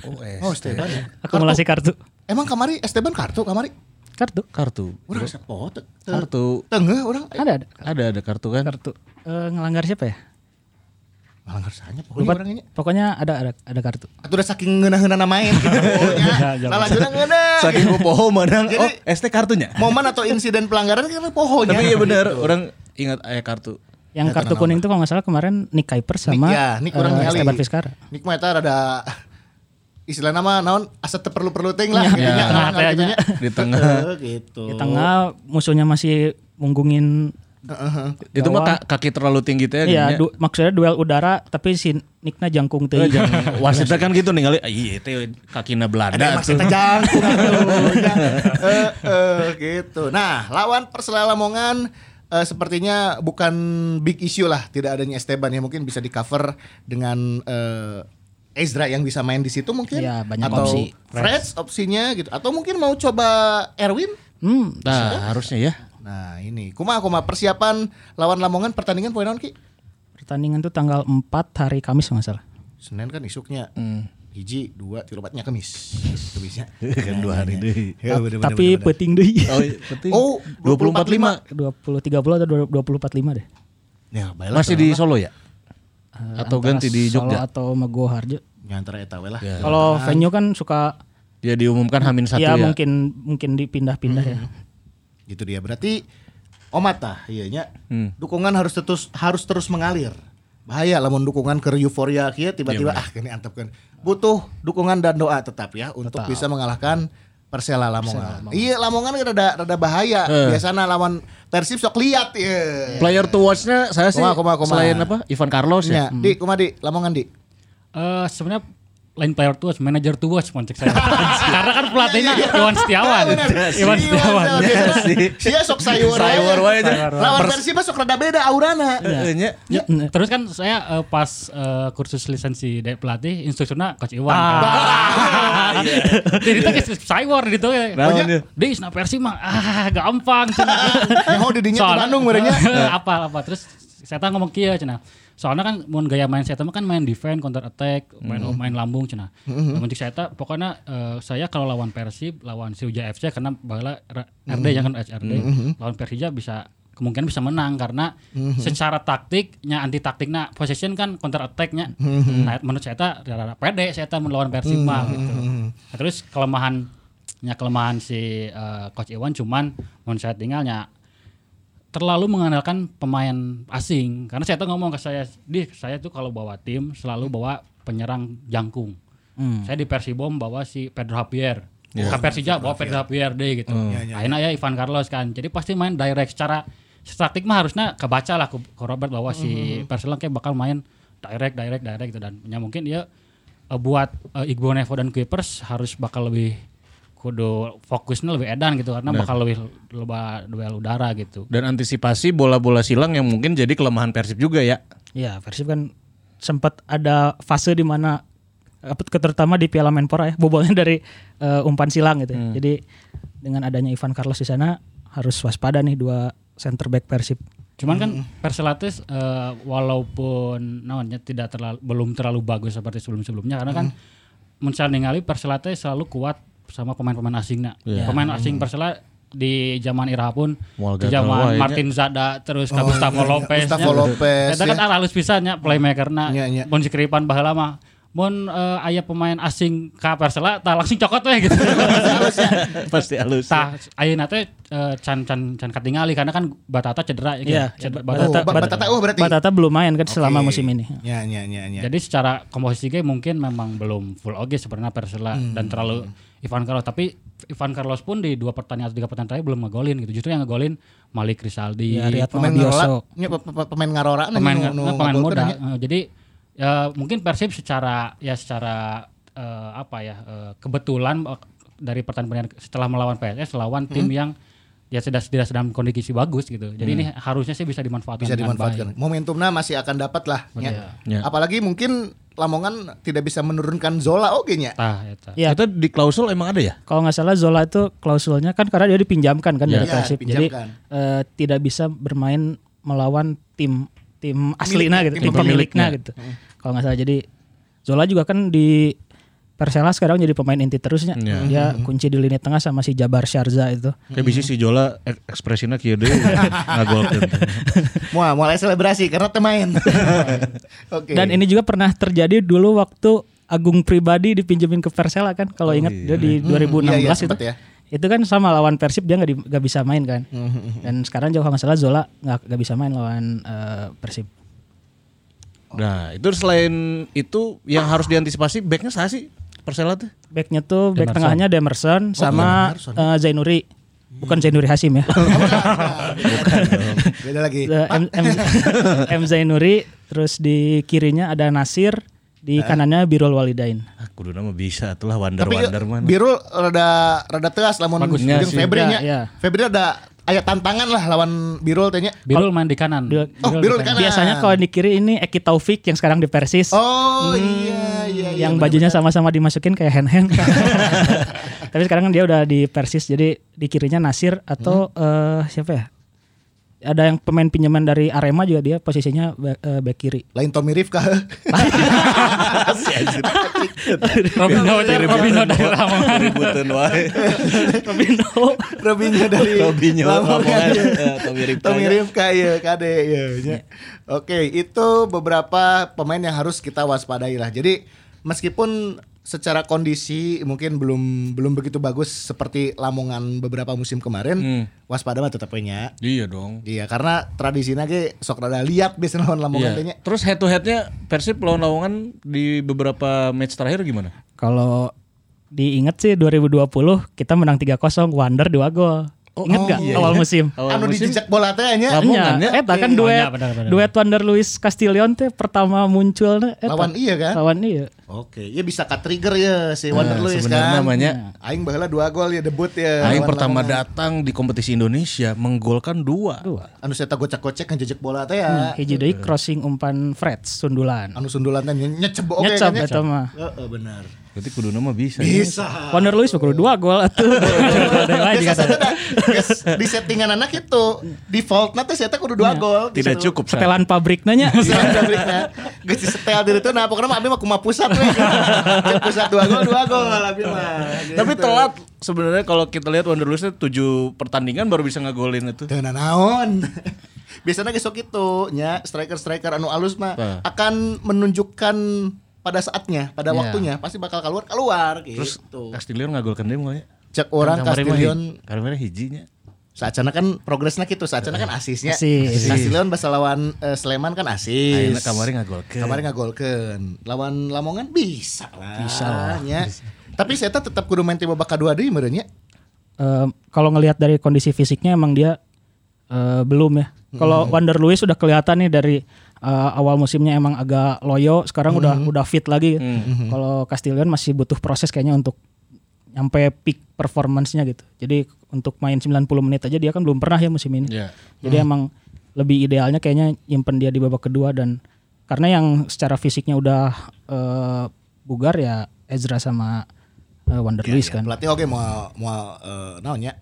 Speaker 2: Oh, eh.
Speaker 3: Oh, Esteban ya.
Speaker 5: Akumulasi kartu.
Speaker 3: Emang kamari Esteban kartu kamari?
Speaker 5: Kartu.
Speaker 2: Kartu.
Speaker 3: Urang sepot. teu- teu-
Speaker 2: Kartu.
Speaker 3: Tengah orang. Eh,
Speaker 5: Ada ada
Speaker 2: Ada ada kartu kan?
Speaker 5: kartu. Eh, ngelanggar siapa ya?
Speaker 3: Malah ngersanya pokoknya
Speaker 5: Lupa.
Speaker 3: orang ini.
Speaker 5: Pokoknya ada ada ada kartu.
Speaker 3: Atuh udah saking ngeunah-ngeunahna main gitu.
Speaker 2: Iya,
Speaker 3: pokoknya. Nah, lanjutnya ngeunah.
Speaker 2: Saking ku poho menang.
Speaker 3: Jadi-
Speaker 2: Oh, ST kartunya.
Speaker 3: Momen atau insiden pelanggaran kan pohonnya.
Speaker 2: Tapi iya benar, orang ingat aya kartu.
Speaker 5: Yang kartu kuning itu kalau nggak salah kemarin Nick Kuiper
Speaker 3: Nick,
Speaker 5: sama
Speaker 3: ya, Nick kurang
Speaker 5: eh,
Speaker 3: nyali.
Speaker 5: Esteban Vizcara.
Speaker 3: Nick mah eta rada istilah nama naon asa teu perlu-perlu ting lah gitu nya.
Speaker 5: tengah
Speaker 3: Nah,
Speaker 5: teh
Speaker 3: gitu
Speaker 5: aja.
Speaker 3: nya.
Speaker 2: Di tengah.
Speaker 3: Eh, gitu.
Speaker 2: Oh.
Speaker 5: Iya. Di tengah musuhnya masih munggungin
Speaker 2: Itu mah ka- kaki terlalu tinggi teh.
Speaker 5: Iya,
Speaker 2: gini nya.
Speaker 5: du- maksudnya duel udara tapi si Nickna
Speaker 2: Eh,
Speaker 5: jangkung teh.
Speaker 2: jangan- Wasitnya kan gitu ningali, "Ah, iya teh kakina
Speaker 3: Ada yang
Speaker 2: Belanda tuh.
Speaker 3: masih terjangkung tuh, ya. Nah, Eh, eh, gitu. Nah, lawan Persela Lamongan eh, sepertinya bukan big issue lah tidak adanya Esteban ya mungkin bisa di cover dengan eh, Ezra yang bisa main di situ mungkin
Speaker 5: Iya, banyak
Speaker 3: atau
Speaker 5: opsi.
Speaker 3: Fresh opsinya gitu atau mungkin mau coba Erwin
Speaker 5: Hmm,
Speaker 2: Nah, harusnya ya.
Speaker 3: Nah ini kuma kuma persiapan lawan Lamongan pertandingan poin naon ki?
Speaker 5: pertandingan tuh tanggal 4 hari Kamis kalau nggak salah.
Speaker 3: Senin kan isuknya hiji dua tilu empatnya kemis kemisnya
Speaker 2: Kan dua hari deui.
Speaker 3: Ya, bener, bener, bener,
Speaker 5: tapi
Speaker 3: bener.
Speaker 5: peting deui.
Speaker 2: Oh, penting.
Speaker 3: Oh, 24.5.
Speaker 5: 20 30 atau 20 45 deh.
Speaker 3: ya baiklah
Speaker 2: Masih di Solo ya?
Speaker 5: Eh,
Speaker 2: Atau
Speaker 5: antara
Speaker 2: ganti di
Speaker 5: Solo
Speaker 2: Jogja? Eh.
Speaker 5: atau Mago Harjo.
Speaker 3: nyantara Ya, eta we lah
Speaker 5: Kalau venue kan suka
Speaker 2: Ya diumumkan Hamin satu ya.
Speaker 5: ya,
Speaker 2: Hmm.
Speaker 5: mungkin mungkin dipindah-pindah ya.
Speaker 3: gitu dia berarti omata iya nya dukungan harus terus harus terus mengalir bahaya lamun dukungan ke euforia kieu tiba-tiba ah kini antepkeun butuh dukungan dan doa tetap ya untuk bisa mengalahkan Persela Lamongan. Iya Lamongan kan rada rada bahaya. Biasanya lawan Persib sok lihat iya.
Speaker 2: Player to watch-nya saya sih
Speaker 3: Koma, koma, koma.
Speaker 2: selain apa? Ivan Carlos ya.
Speaker 3: Ya, di kumaha di Lamongan di.
Speaker 4: Eh sebenarnya lain player to watch, manager to watch moncek saya. Karena kan pelatihnya
Speaker 3: Iya,
Speaker 4: Iwan Setiawan. Iwan Setiawan.
Speaker 3: Sia Iya, sok sayur.
Speaker 2: Sayur wae aja.
Speaker 3: Lawan Persib mah sok rada beda aurana.
Speaker 2: Eh, nya.
Speaker 4: Ya, terus kan saya eh, pas eh, kursus lisensi dari pelatih instrukturnya coach Iwan. kan. Iya. Jadi itu kayak cyber gitu ya.
Speaker 2: Naon
Speaker 4: Pokoknya,
Speaker 2: dia?
Speaker 4: Dia isna versi mah ah gampang gitu." cina.
Speaker 3: Nyaho didinya di Bandung merenya.
Speaker 4: apa apa terus saya tahu ngomong kia cina. Soalnya kan mau gaya main saya mah kan main defense, counter attack, main
Speaker 3: Mm-hmm.
Speaker 4: main lambung cina. Muncik saya tahu pokoknya eh, saya kalau lawan Persib, lawan Sriwijaya FC karena bala R- RD
Speaker 3: Mm-hmm.
Speaker 4: ya kan HRD, lawan Persija bisa kemungkinan bisa menang karena
Speaker 3: Mm-hmm.
Speaker 4: secara taktiknya anti taktiknya possession kan counter attacknya
Speaker 3: Mm-hmm.
Speaker 4: nah menurut saya tak rada pede saya tak melawan Persib mah gitu Nah, terus kelemahannya kelemahan si eh, coach Iwan cuman menurut saya tinggalnya terlalu mengandalkan pemain asing karena saya tuh ngomong ke saya di saya tuh kalau bawa tim selalu bawa penyerang jangkung saya di Persibom bawa si Pedro Javier ke Persija bawa Pedro Javier deh gitu akhirnya ya Ivan Carlos kan jadi pasti main direct secara statik mah harusnya kebaca lah ke, ke Robert bahwa si Persela kayak bakal main direct direct direct gitu dan ya mungkin dia eh, buat eh, Igbo Nevo dan Kuipers harus bakal lebih kudu fokusnya lebih edan gitu karena bakal lebih loba duel udara gitu
Speaker 2: Dan antisipasi bola-bola silang yang mungkin jadi kelemahan Persib juga ya.
Speaker 5: Ya, Persib kan sempat ada fase di mana apa, terutama di Piala Menpora ya, bobolnya dari eh, umpan silang gitu. ya.
Speaker 3: Hmm.
Speaker 5: Jadi dengan adanya Ivan Carlos di sana harus waspada nih dua center back Persib.
Speaker 4: Cuman kan Perselatis eh, walaupun namanya tidak terlalu belum terlalu bagus seperti sebelum-sebelumnya karena kan mencari ningali Persela teh selalu kuat sama pemain-pemain asingnya.
Speaker 3: Iya.
Speaker 4: Pemain asing Persela di zaman Ira pun,
Speaker 2: Moal
Speaker 4: di
Speaker 2: gagal wae
Speaker 4: zaman
Speaker 2: nya.
Speaker 4: Martin Zada
Speaker 3: Oh,
Speaker 4: terus ke Gustavo Lopez.
Speaker 3: iya, Gustavo Lopez, iya.
Speaker 4: Eta kan halus pisan nya playmaker
Speaker 3: Nya, nya.
Speaker 4: na. Mun sikripan baheula mah mun eh, aya pemain asing ka Persela tah langsung cokot we gitu.
Speaker 3: Iya,
Speaker 2: Pasti halus. ya.
Speaker 4: Tah ayeuna teh eh, can can can katingali karena kan Batata cedera ya.
Speaker 5: Iya,
Speaker 4: Cedera-
Speaker 3: Batata- Bat- Batata oh berarti.
Speaker 5: Batata belum main kan selama musim ini.
Speaker 3: Ya ya ya ya.
Speaker 4: Jadi secara komposisi game mungkin memang belum full oke sebenarnya Persela
Speaker 5: Hmm.
Speaker 4: dan terlalu Ivan Carlos tapi Ivan Carlos pun di dua pertandingan atau tiga pertandingan terakhir belum ngegolin gitu. Justru yang ngegolin Malik Rizaldi,
Speaker 5: Ya, Riyad
Speaker 3: Iya, pemain
Speaker 5: Mabioso.
Speaker 3: ngarola, nya pe- pe- pemain ngarora
Speaker 4: pemain
Speaker 3: nu- nu
Speaker 4: nah, pemain
Speaker 3: ngagolkeun
Speaker 4: muda.
Speaker 3: nya.
Speaker 4: Eh, Jadi ya, mungkin Persib secara ya secara eh, apa ya eh, kebetulan eh, dari pertandingan setelah melawan PSS lawan tim yang ya sudah tidak sedang kondisi bagus gitu. Jadi ini harusnya sih bisa dimanfaatkan.
Speaker 3: bisa
Speaker 4: dengan
Speaker 3: dimanfaatkan. Momentumnya masih akan dapat lah.
Speaker 4: Oh,
Speaker 3: Ya.
Speaker 2: Iya.
Speaker 3: Apalagi mungkin Lamongan tidak bisa menurunkan Zola oke nya.
Speaker 4: baik. Tah, eta.
Speaker 5: Iya.
Speaker 2: Itu di klausul emang ada ya?
Speaker 5: Kalau nggak salah Zola itu klausulnya kan karena dia dipinjamkan kan
Speaker 3: Iya.
Speaker 5: dari
Speaker 3: Iya,
Speaker 5: Persib. Jadi
Speaker 3: dipinjamkan.
Speaker 5: eh, tidak bisa bermain melawan tim tim aslinya gitu, tim,
Speaker 3: tim
Speaker 5: pemiliknya gitu. Kalau nggak salah jadi Zola juga kan di Persela sekarang jadi pemain inti terusnya.
Speaker 2: Iya.
Speaker 5: Dia kunci di lini tengah sama si Jabar Syarza itu.
Speaker 2: Kayak bisa si Jola ek- ekspresinya kieu deui ngagolkeun.
Speaker 3: Wah, mulai selebrasi karena temain. Oke.
Speaker 5: Dan ini juga pernah terjadi dulu waktu Agung Pribadi dipinjemin ke Persela kan kalau ingat dia di 2016
Speaker 3: iya, iya,
Speaker 5: itu.
Speaker 3: sempet ya. Hmm,
Speaker 5: Itu kan sama lawan Persib dia nggak di- nggak bisa main kan. Dan sekarang jauh nggak salah Zola nggak nggak bisa main lawan eh, Persib.
Speaker 2: Nah, itu selain itu yang harus diantisipasi backnya saya sih Persela tuh.
Speaker 5: Backnya tuh back tengahnya
Speaker 3: Oh,
Speaker 5: Demerson sama eh, Zainuri. Bukan
Speaker 3: Hmm.
Speaker 5: Zainuri Hasim ya.
Speaker 3: Nah, Beda lagi.
Speaker 5: Eh, M, M, M Zainuri terus di kirinya ada Nasir,
Speaker 3: Eh?
Speaker 5: di kanannya Birol Walidain.
Speaker 2: Ah, kudu nama bisa itulah
Speaker 3: Tapi
Speaker 2: wonder-wonder mana.
Speaker 3: Biru rada rada teas lamun
Speaker 2: Bagusnya
Speaker 4: Iya
Speaker 3: jeung
Speaker 2: sih.
Speaker 3: Febri nya.
Speaker 5: Ya, ya.
Speaker 3: Febri ada ayat tantangan lah lawan Birul tanya.
Speaker 4: Birul main di kanan.
Speaker 3: Oh, Birul di kanan.
Speaker 5: Biasanya kalau di kiri ini Eki Taufik yang sekarang di Persis.
Speaker 3: Oh iya iya iya.
Speaker 5: Hmm, yang bajunya sama-sama dimasukin kayak hand hand. Tapi sekarang kan dia udah di Persis jadi di kirinya Nasir atau
Speaker 3: Hmm?
Speaker 5: eh, siapa ya? Ada yang pemain pinjaman dari Arema juga dia posisinya ba- eh, back kiri.
Speaker 3: Lain Tommy Rifka.
Speaker 4: Robinho itu Robinho dari Lamongan.
Speaker 2: Ributan wae.
Speaker 5: Robinho.
Speaker 3: Robinya dari
Speaker 2: Robinho, Lamongan. Eh, Tommy
Speaker 3: Tommy
Speaker 2: Rifka,
Speaker 3: Rifka. Tommy Rifka iya kade iya. iya. Oke, itu beberapa pemain yang harus kita waspadai lah. Jadi meskipun secara kondisi mungkin belum belum begitu bagus seperti Lamongan beberapa musim
Speaker 2: Hmm.
Speaker 3: kemarin, waspada mah tetap we nya.
Speaker 2: Iya dong.
Speaker 3: Iya, karena tradisinya ge sok rada lihat biasanya lawan Lamongan teh nya.
Speaker 2: Iya. Terus head to headnya Persib lawan Lawangan di beberapa match terakhir gimana?
Speaker 5: Kalau diingat sih 2020 kita menang 3-0 Wander dua gol.
Speaker 3: Oh,
Speaker 5: Ingat gak awal musim?
Speaker 3: Anu dijejak bola teh nya.
Speaker 2: Lamongan ya?
Speaker 5: Nya, Eta kan duet
Speaker 4: Oh, iya, benar, benar.
Speaker 5: duet Wander Luis Castillion teh pertama munculnya eta.
Speaker 3: Lawan iya kan?
Speaker 5: lawan iya.
Speaker 3: Oke, ya bisa ke trigger ya si Wander Luis
Speaker 2: Nah, sebenarnya
Speaker 3: kan.
Speaker 2: namanya.
Speaker 3: Aing baheula dua gol ya debut ya.
Speaker 2: Aing
Speaker 3: lawan
Speaker 2: pertama
Speaker 3: Lamongan.
Speaker 2: datang di kompetisi Indonesia menggolkan dua.
Speaker 3: Anu saya gocek-gocek ngejejek bola teh ya.
Speaker 5: Hmm, Hiji deui crossing umpan Fred sundulan.
Speaker 3: Anu sundulan teh nye- nyecep oke kan ya?
Speaker 5: Nyecap eta mah.
Speaker 3: Heeh, benar.
Speaker 2: Berarti kudu nama bisa.
Speaker 3: Bisa.
Speaker 5: Wander Luis mah kudu dua gol atuh. Ada yang lain
Speaker 3: Geus
Speaker 5: juga tadi.
Speaker 3: sasada, geus di settingan anak itu default nanti saya kudu dua gol.
Speaker 2: Tidak
Speaker 3: Gitu.
Speaker 2: cukup. Sa.
Speaker 5: Setelan pabrik nanya.
Speaker 3: Setelan pabriknya. Geus di setel diri teh nah pokoknya mah abi mah kumaha pusat we. Cek pusat dua gol dua gol abi mah. Gitu.
Speaker 2: Tapi telat sebenarnya kalau kita lihat Wanderlusnya 7 pertandingan baru bisa ngegolin itu.
Speaker 3: Teu naon. Biasanya gesok itu nya striker-striker anu alus mah
Speaker 2: Tah.
Speaker 3: akan menunjukkan pada saatnya, pada waktunya pasti bakal keluar keluar gitu.
Speaker 2: Terus Castillion ngagolkan dia mulai.
Speaker 3: cek orang Castillion
Speaker 2: Karena hijinya.
Speaker 3: Saacana kan progresnya gitu, saacana kan asisnya.
Speaker 5: Asis.
Speaker 3: Castillion bahasa lawan eh, Sleman kan asis.
Speaker 2: Ayeuna kamari ngagolkeun.
Speaker 3: Kamari ngagolkeun. Lawan Lamongan bisa lah. Bisa lah. Nya. Tapi saya tetap kudu main tim babak kedua deui meureun nya.
Speaker 5: Eh, kalau ngelihat dari kondisi fisiknya emang dia eh, belum ya. Kalau Wander Luis udah kelihatan nih dari eh, awal musimnya emang agak loyo, sekarang udah udah fit lagi. Kalau Castillion masih butuh proses kayaknya untuk nyampe peak performance-nya gitu. Jadi untuk main 90 menit aja dia kan belum pernah ya musim ini.
Speaker 2: Iya.
Speaker 5: Jadi emang lebih idealnya kayaknya nyimpen dia di babak kedua dan karena yang secara fisiknya udah eh, bugar ya Ezra sama eh, Wander
Speaker 3: Iya,
Speaker 5: Luis kan.
Speaker 3: Pelatih oke mau mau eh, naon nya.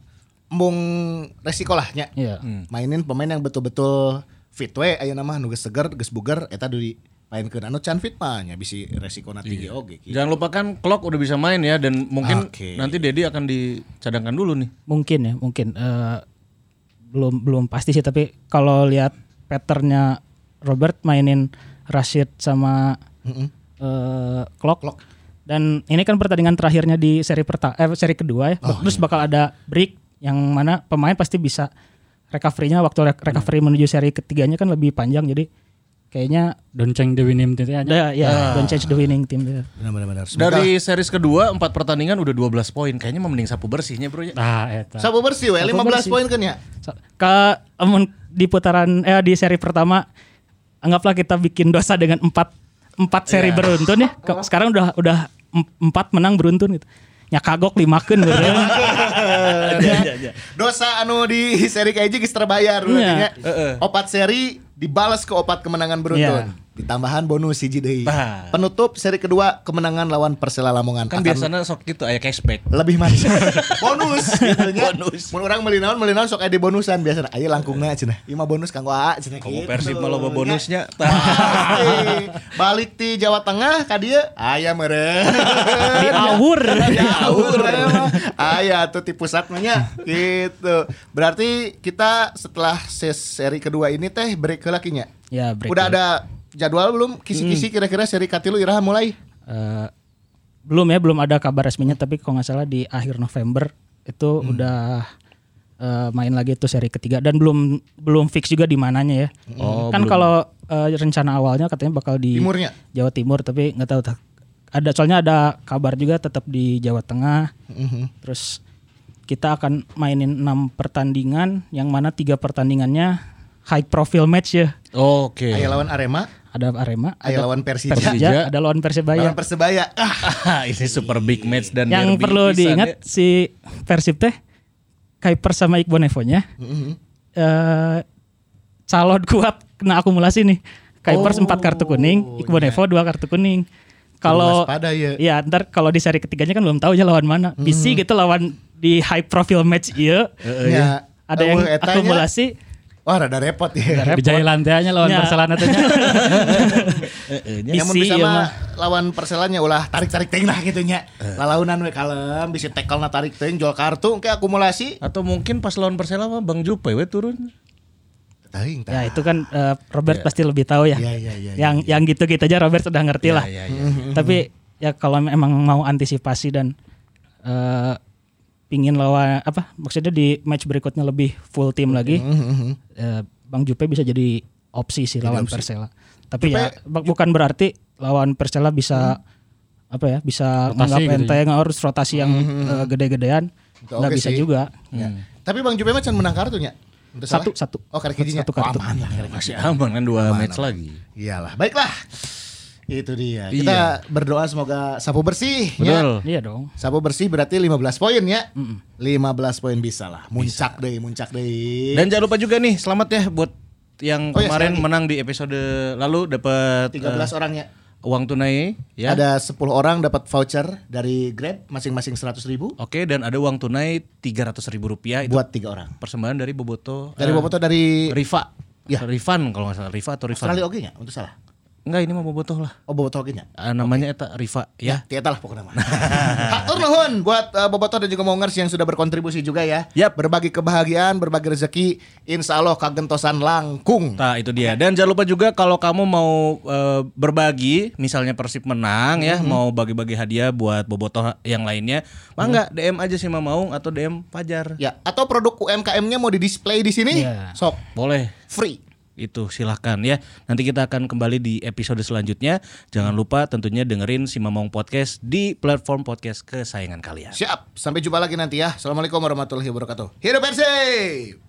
Speaker 3: Embung resiko lah nya.
Speaker 5: Iya.
Speaker 3: Mainin pemain yang betul-betul fit we ayeuna mah nu geus seger, geus bugar eta duit mainkeun anu can fit mah nya bisi resiko tinggi oge gitu.
Speaker 2: Jangan lupakan Clock udah bisa main ya dan mungkin
Speaker 3: Oke.
Speaker 2: nanti Dedi akan dicadangkan dulu nih.
Speaker 5: mungkin ya mungkin Eh, belum belum pasti sih tapi kalau lihat patternnya Robert mainin Rashid sama eh, Klok dan ini kan pertandingan terakhirnya di seri pertama eh, seri kedua ya terus bakal ada break yang mana pemain pasti bisa recovery-nya waktu re- recovery menuju seri ketiganya kan lebih panjang jadi kayaknya
Speaker 4: Donceng Dewi Nim itu aja.
Speaker 5: udah ya don't change the winning team ya.
Speaker 3: Benar-benar.
Speaker 2: Dari series kedua empat pertandingan udah 12 poin. Kayaknya mah mending sapu bersihnya, Bro ya.
Speaker 3: Nah,
Speaker 4: Tah, eta.
Speaker 3: Sabu bersih we 15 poin kan ya.
Speaker 5: So, ke amun di putaran eh di seri pertama anggaplah kita bikin dosa dengan empat empat seri beruntun ya. Ke-
Speaker 2: Eh,
Speaker 5: Sekarang udah udah em- empat menang beruntun gitu. Ya kagok limakeun beureun.
Speaker 3: Iya, Dosa anu di seri keji geus terbayar berarti
Speaker 5: Iya.
Speaker 3: nya. Opat seri dibalas ke opat kemenangan beruntun.
Speaker 5: Iya.
Speaker 3: Ditambahan bonus hiji deui.
Speaker 2: Tah.
Speaker 3: Penutup seri kedua kemenangan lawan Persela Lamongan.
Speaker 2: Kan
Speaker 3: Akan
Speaker 2: biasanya sok gitu aya cashback.
Speaker 3: lebih manis bonus gitu nya. Mun urang meuli naon meuli naon sok aya di bonusan biasana aya langkungna cenah ieu mah bonus kanggo AA cenah
Speaker 2: Kamu
Speaker 3: gitu. Nah.
Speaker 2: Persib mah loba
Speaker 3: Nya.
Speaker 2: bonusnya.
Speaker 3: Pasti. balik di Jawa Tengah ka dieu aya meureun
Speaker 5: Di awur.
Speaker 3: Diaur Ayah Ah, iya, tuh di pusat mah nya. gitu. Berarti kita setelah ses- seri kedua ini teh break ke lakinya.
Speaker 5: Ya, break
Speaker 3: Udah
Speaker 5: ke- Hmm.
Speaker 3: ada jadwal belum? Kisi-kisi kira-kira seri katilu Iraha mulai.
Speaker 5: Eh, belum ya belum ada kabar resminya tapi kalau nggak salah di akhir November itu udah eh, main lagi itu seri ketiga dan belum belum fix juga di mananya ya
Speaker 2: Oh,
Speaker 5: kan
Speaker 2: belum.
Speaker 5: kalau eh, rencana awalnya katanya bakal di
Speaker 3: Timurnya?
Speaker 5: Jawa Timur tapi nggak tahu tak- ada soalnya ada kabar juga tetap di Jawa Tengah terus kita akan mainin enam pertandingan yang mana tiga pertandingannya high profile match ya
Speaker 2: Oke.
Speaker 3: Ayah lawan Arema,
Speaker 5: ada Arema
Speaker 3: ayah
Speaker 5: ada
Speaker 3: lawan Persija,
Speaker 2: Persija.
Speaker 5: Persija Iya. ada lawan Persebaya
Speaker 3: lawan Persebaya. Ah,
Speaker 2: Ini super big match dan
Speaker 5: yang
Speaker 2: derby
Speaker 5: perlu
Speaker 2: pisan
Speaker 5: diingat
Speaker 2: ya.
Speaker 5: si Persib teh Kuiper sama Iqbal Nevonya
Speaker 3: Mm-hmm.
Speaker 5: eh, calon kuat kena akumulasi nih Kuiper sempat kartu
Speaker 3: Oh, iya.
Speaker 5: kuning Iqbal Nevo dua kartu kuning kalau
Speaker 3: waspada ya.
Speaker 5: ya ntar kalau di seri ketiganya kan belum tahu aja lawan mana
Speaker 3: Mm-hmm.
Speaker 5: bisi gitu lawan di high profile match iya
Speaker 3: Ya.
Speaker 5: ada yang
Speaker 3: Eueuh, etanya.
Speaker 5: akumulasi
Speaker 3: Wah, rada repot ya.
Speaker 4: Bijaya lantainya lawan
Speaker 5: Ya.
Speaker 4: Barcelona tanya.
Speaker 2: Heeh, nya.
Speaker 3: Yang
Speaker 5: Bisi,
Speaker 3: bisa
Speaker 5: iya
Speaker 3: mah
Speaker 5: mah. Eh.
Speaker 3: lawan Perselanya ulah tarik-tarik ting lah gitu nya. Lalaunan we kalem, bisa tackle na tarik ting, jual kartu ke akumulasi.
Speaker 2: Atau mungkin pas lawan Persela mah Bang Jupe we turun.
Speaker 3: Teuing tah.
Speaker 5: ya itu kan eh, Robert pasti lebih tahu ya
Speaker 3: Iya, iya, iya,
Speaker 5: yang yang gitu gitu aja Robert udah ngerti lah
Speaker 2: ya,
Speaker 5: tapi ya kalau emang mau antisipasi dan eh, pingin lawan apa maksudnya di match berikutnya lebih full tim lagi eh, Bang Jupe bisa jadi opsi sih lawan Persela tapi ya bu- bukan berarti lawan Persela bisa
Speaker 3: Mm-hmm.
Speaker 5: apa ya bisa menganggap
Speaker 4: gitu
Speaker 5: enteng harus rotasi yang eh, gede-gedean
Speaker 3: Itu
Speaker 5: nggak
Speaker 3: oke
Speaker 5: bisa
Speaker 3: sih.
Speaker 5: juga
Speaker 3: Ya.
Speaker 2: Hmm.
Speaker 3: Tapi Bang Jupe mah can menang kartunya. Untuk
Speaker 5: Satu,
Speaker 3: salah.
Speaker 5: satu.
Speaker 3: Oh, kartu kijinya.
Speaker 5: Satu kartu.
Speaker 3: Oh, aman lah. kartu
Speaker 2: Masih aman kan dua match lagi.
Speaker 3: kijinya. Iyalah. Baiklah. Itu dia. Kita berdoa semoga sapu bersih ya.
Speaker 2: Iya. Betul.
Speaker 5: iya dong
Speaker 3: Sapu bersih berarti 15 poin ya. 15 poin bisa lah. Muncak deh, muncak deh.
Speaker 2: Dan jangan lupa juga nih selamat ya buat yang
Speaker 3: Oh ya,
Speaker 2: kemarin
Speaker 3: sekali.
Speaker 2: menang di episode lalu dapat
Speaker 3: 13 orangnya.
Speaker 2: eh, uang tunai ya.
Speaker 3: ya? Ada 10 orang dapat voucher dari Grab masing-masing 100 ribu
Speaker 2: Oke dan ada uang tunai 300.000 ribu rupiah itu
Speaker 3: buat tiga orang.
Speaker 2: persembahan dari Boboto eh,
Speaker 3: Dari Boboto dari
Speaker 2: Rifa
Speaker 3: Ya.
Speaker 2: Rifan kalau nggak salah Rifa atau Rifan
Speaker 3: Australia oke nya untuk salah.
Speaker 2: Enggak ini mah Boboto lah
Speaker 3: Oh Boboto oke nya.
Speaker 2: Ah, namanya eta Rifa ya
Speaker 3: Tieta lah pokoknya mah. Hatur nuhun buat eh, Boboto dan juga Mongers yang sudah berkontribusi juga ya.
Speaker 2: Yap.
Speaker 3: Berbagi kebahagiaan, berbagi rezeki, insya Allah kagentosan langkung.
Speaker 2: Nah itu dia dan jangan lupa juga kalau kamu mau eh, berbagi misalnya Persib menang ya mau bagi-bagi hadiah buat Boboto yang lainnya mah enggak DM aja sih Mama Maung atau DM Pajar
Speaker 3: Ya, atau produk UMKM-nya mau di-display di sini,
Speaker 5: Iya.
Speaker 3: sok
Speaker 2: boleh
Speaker 3: free.
Speaker 2: itu silahkan ya nanti kita akan kembali di episode selanjutnya jangan lupa tentunya dengerin si Mamong Podcast di platform podcast kesayangan kalian
Speaker 3: Siap, sampai jumpa lagi nanti ya. Assalamualaikum warahmatullahi wabarakatuh. Hidup Persib!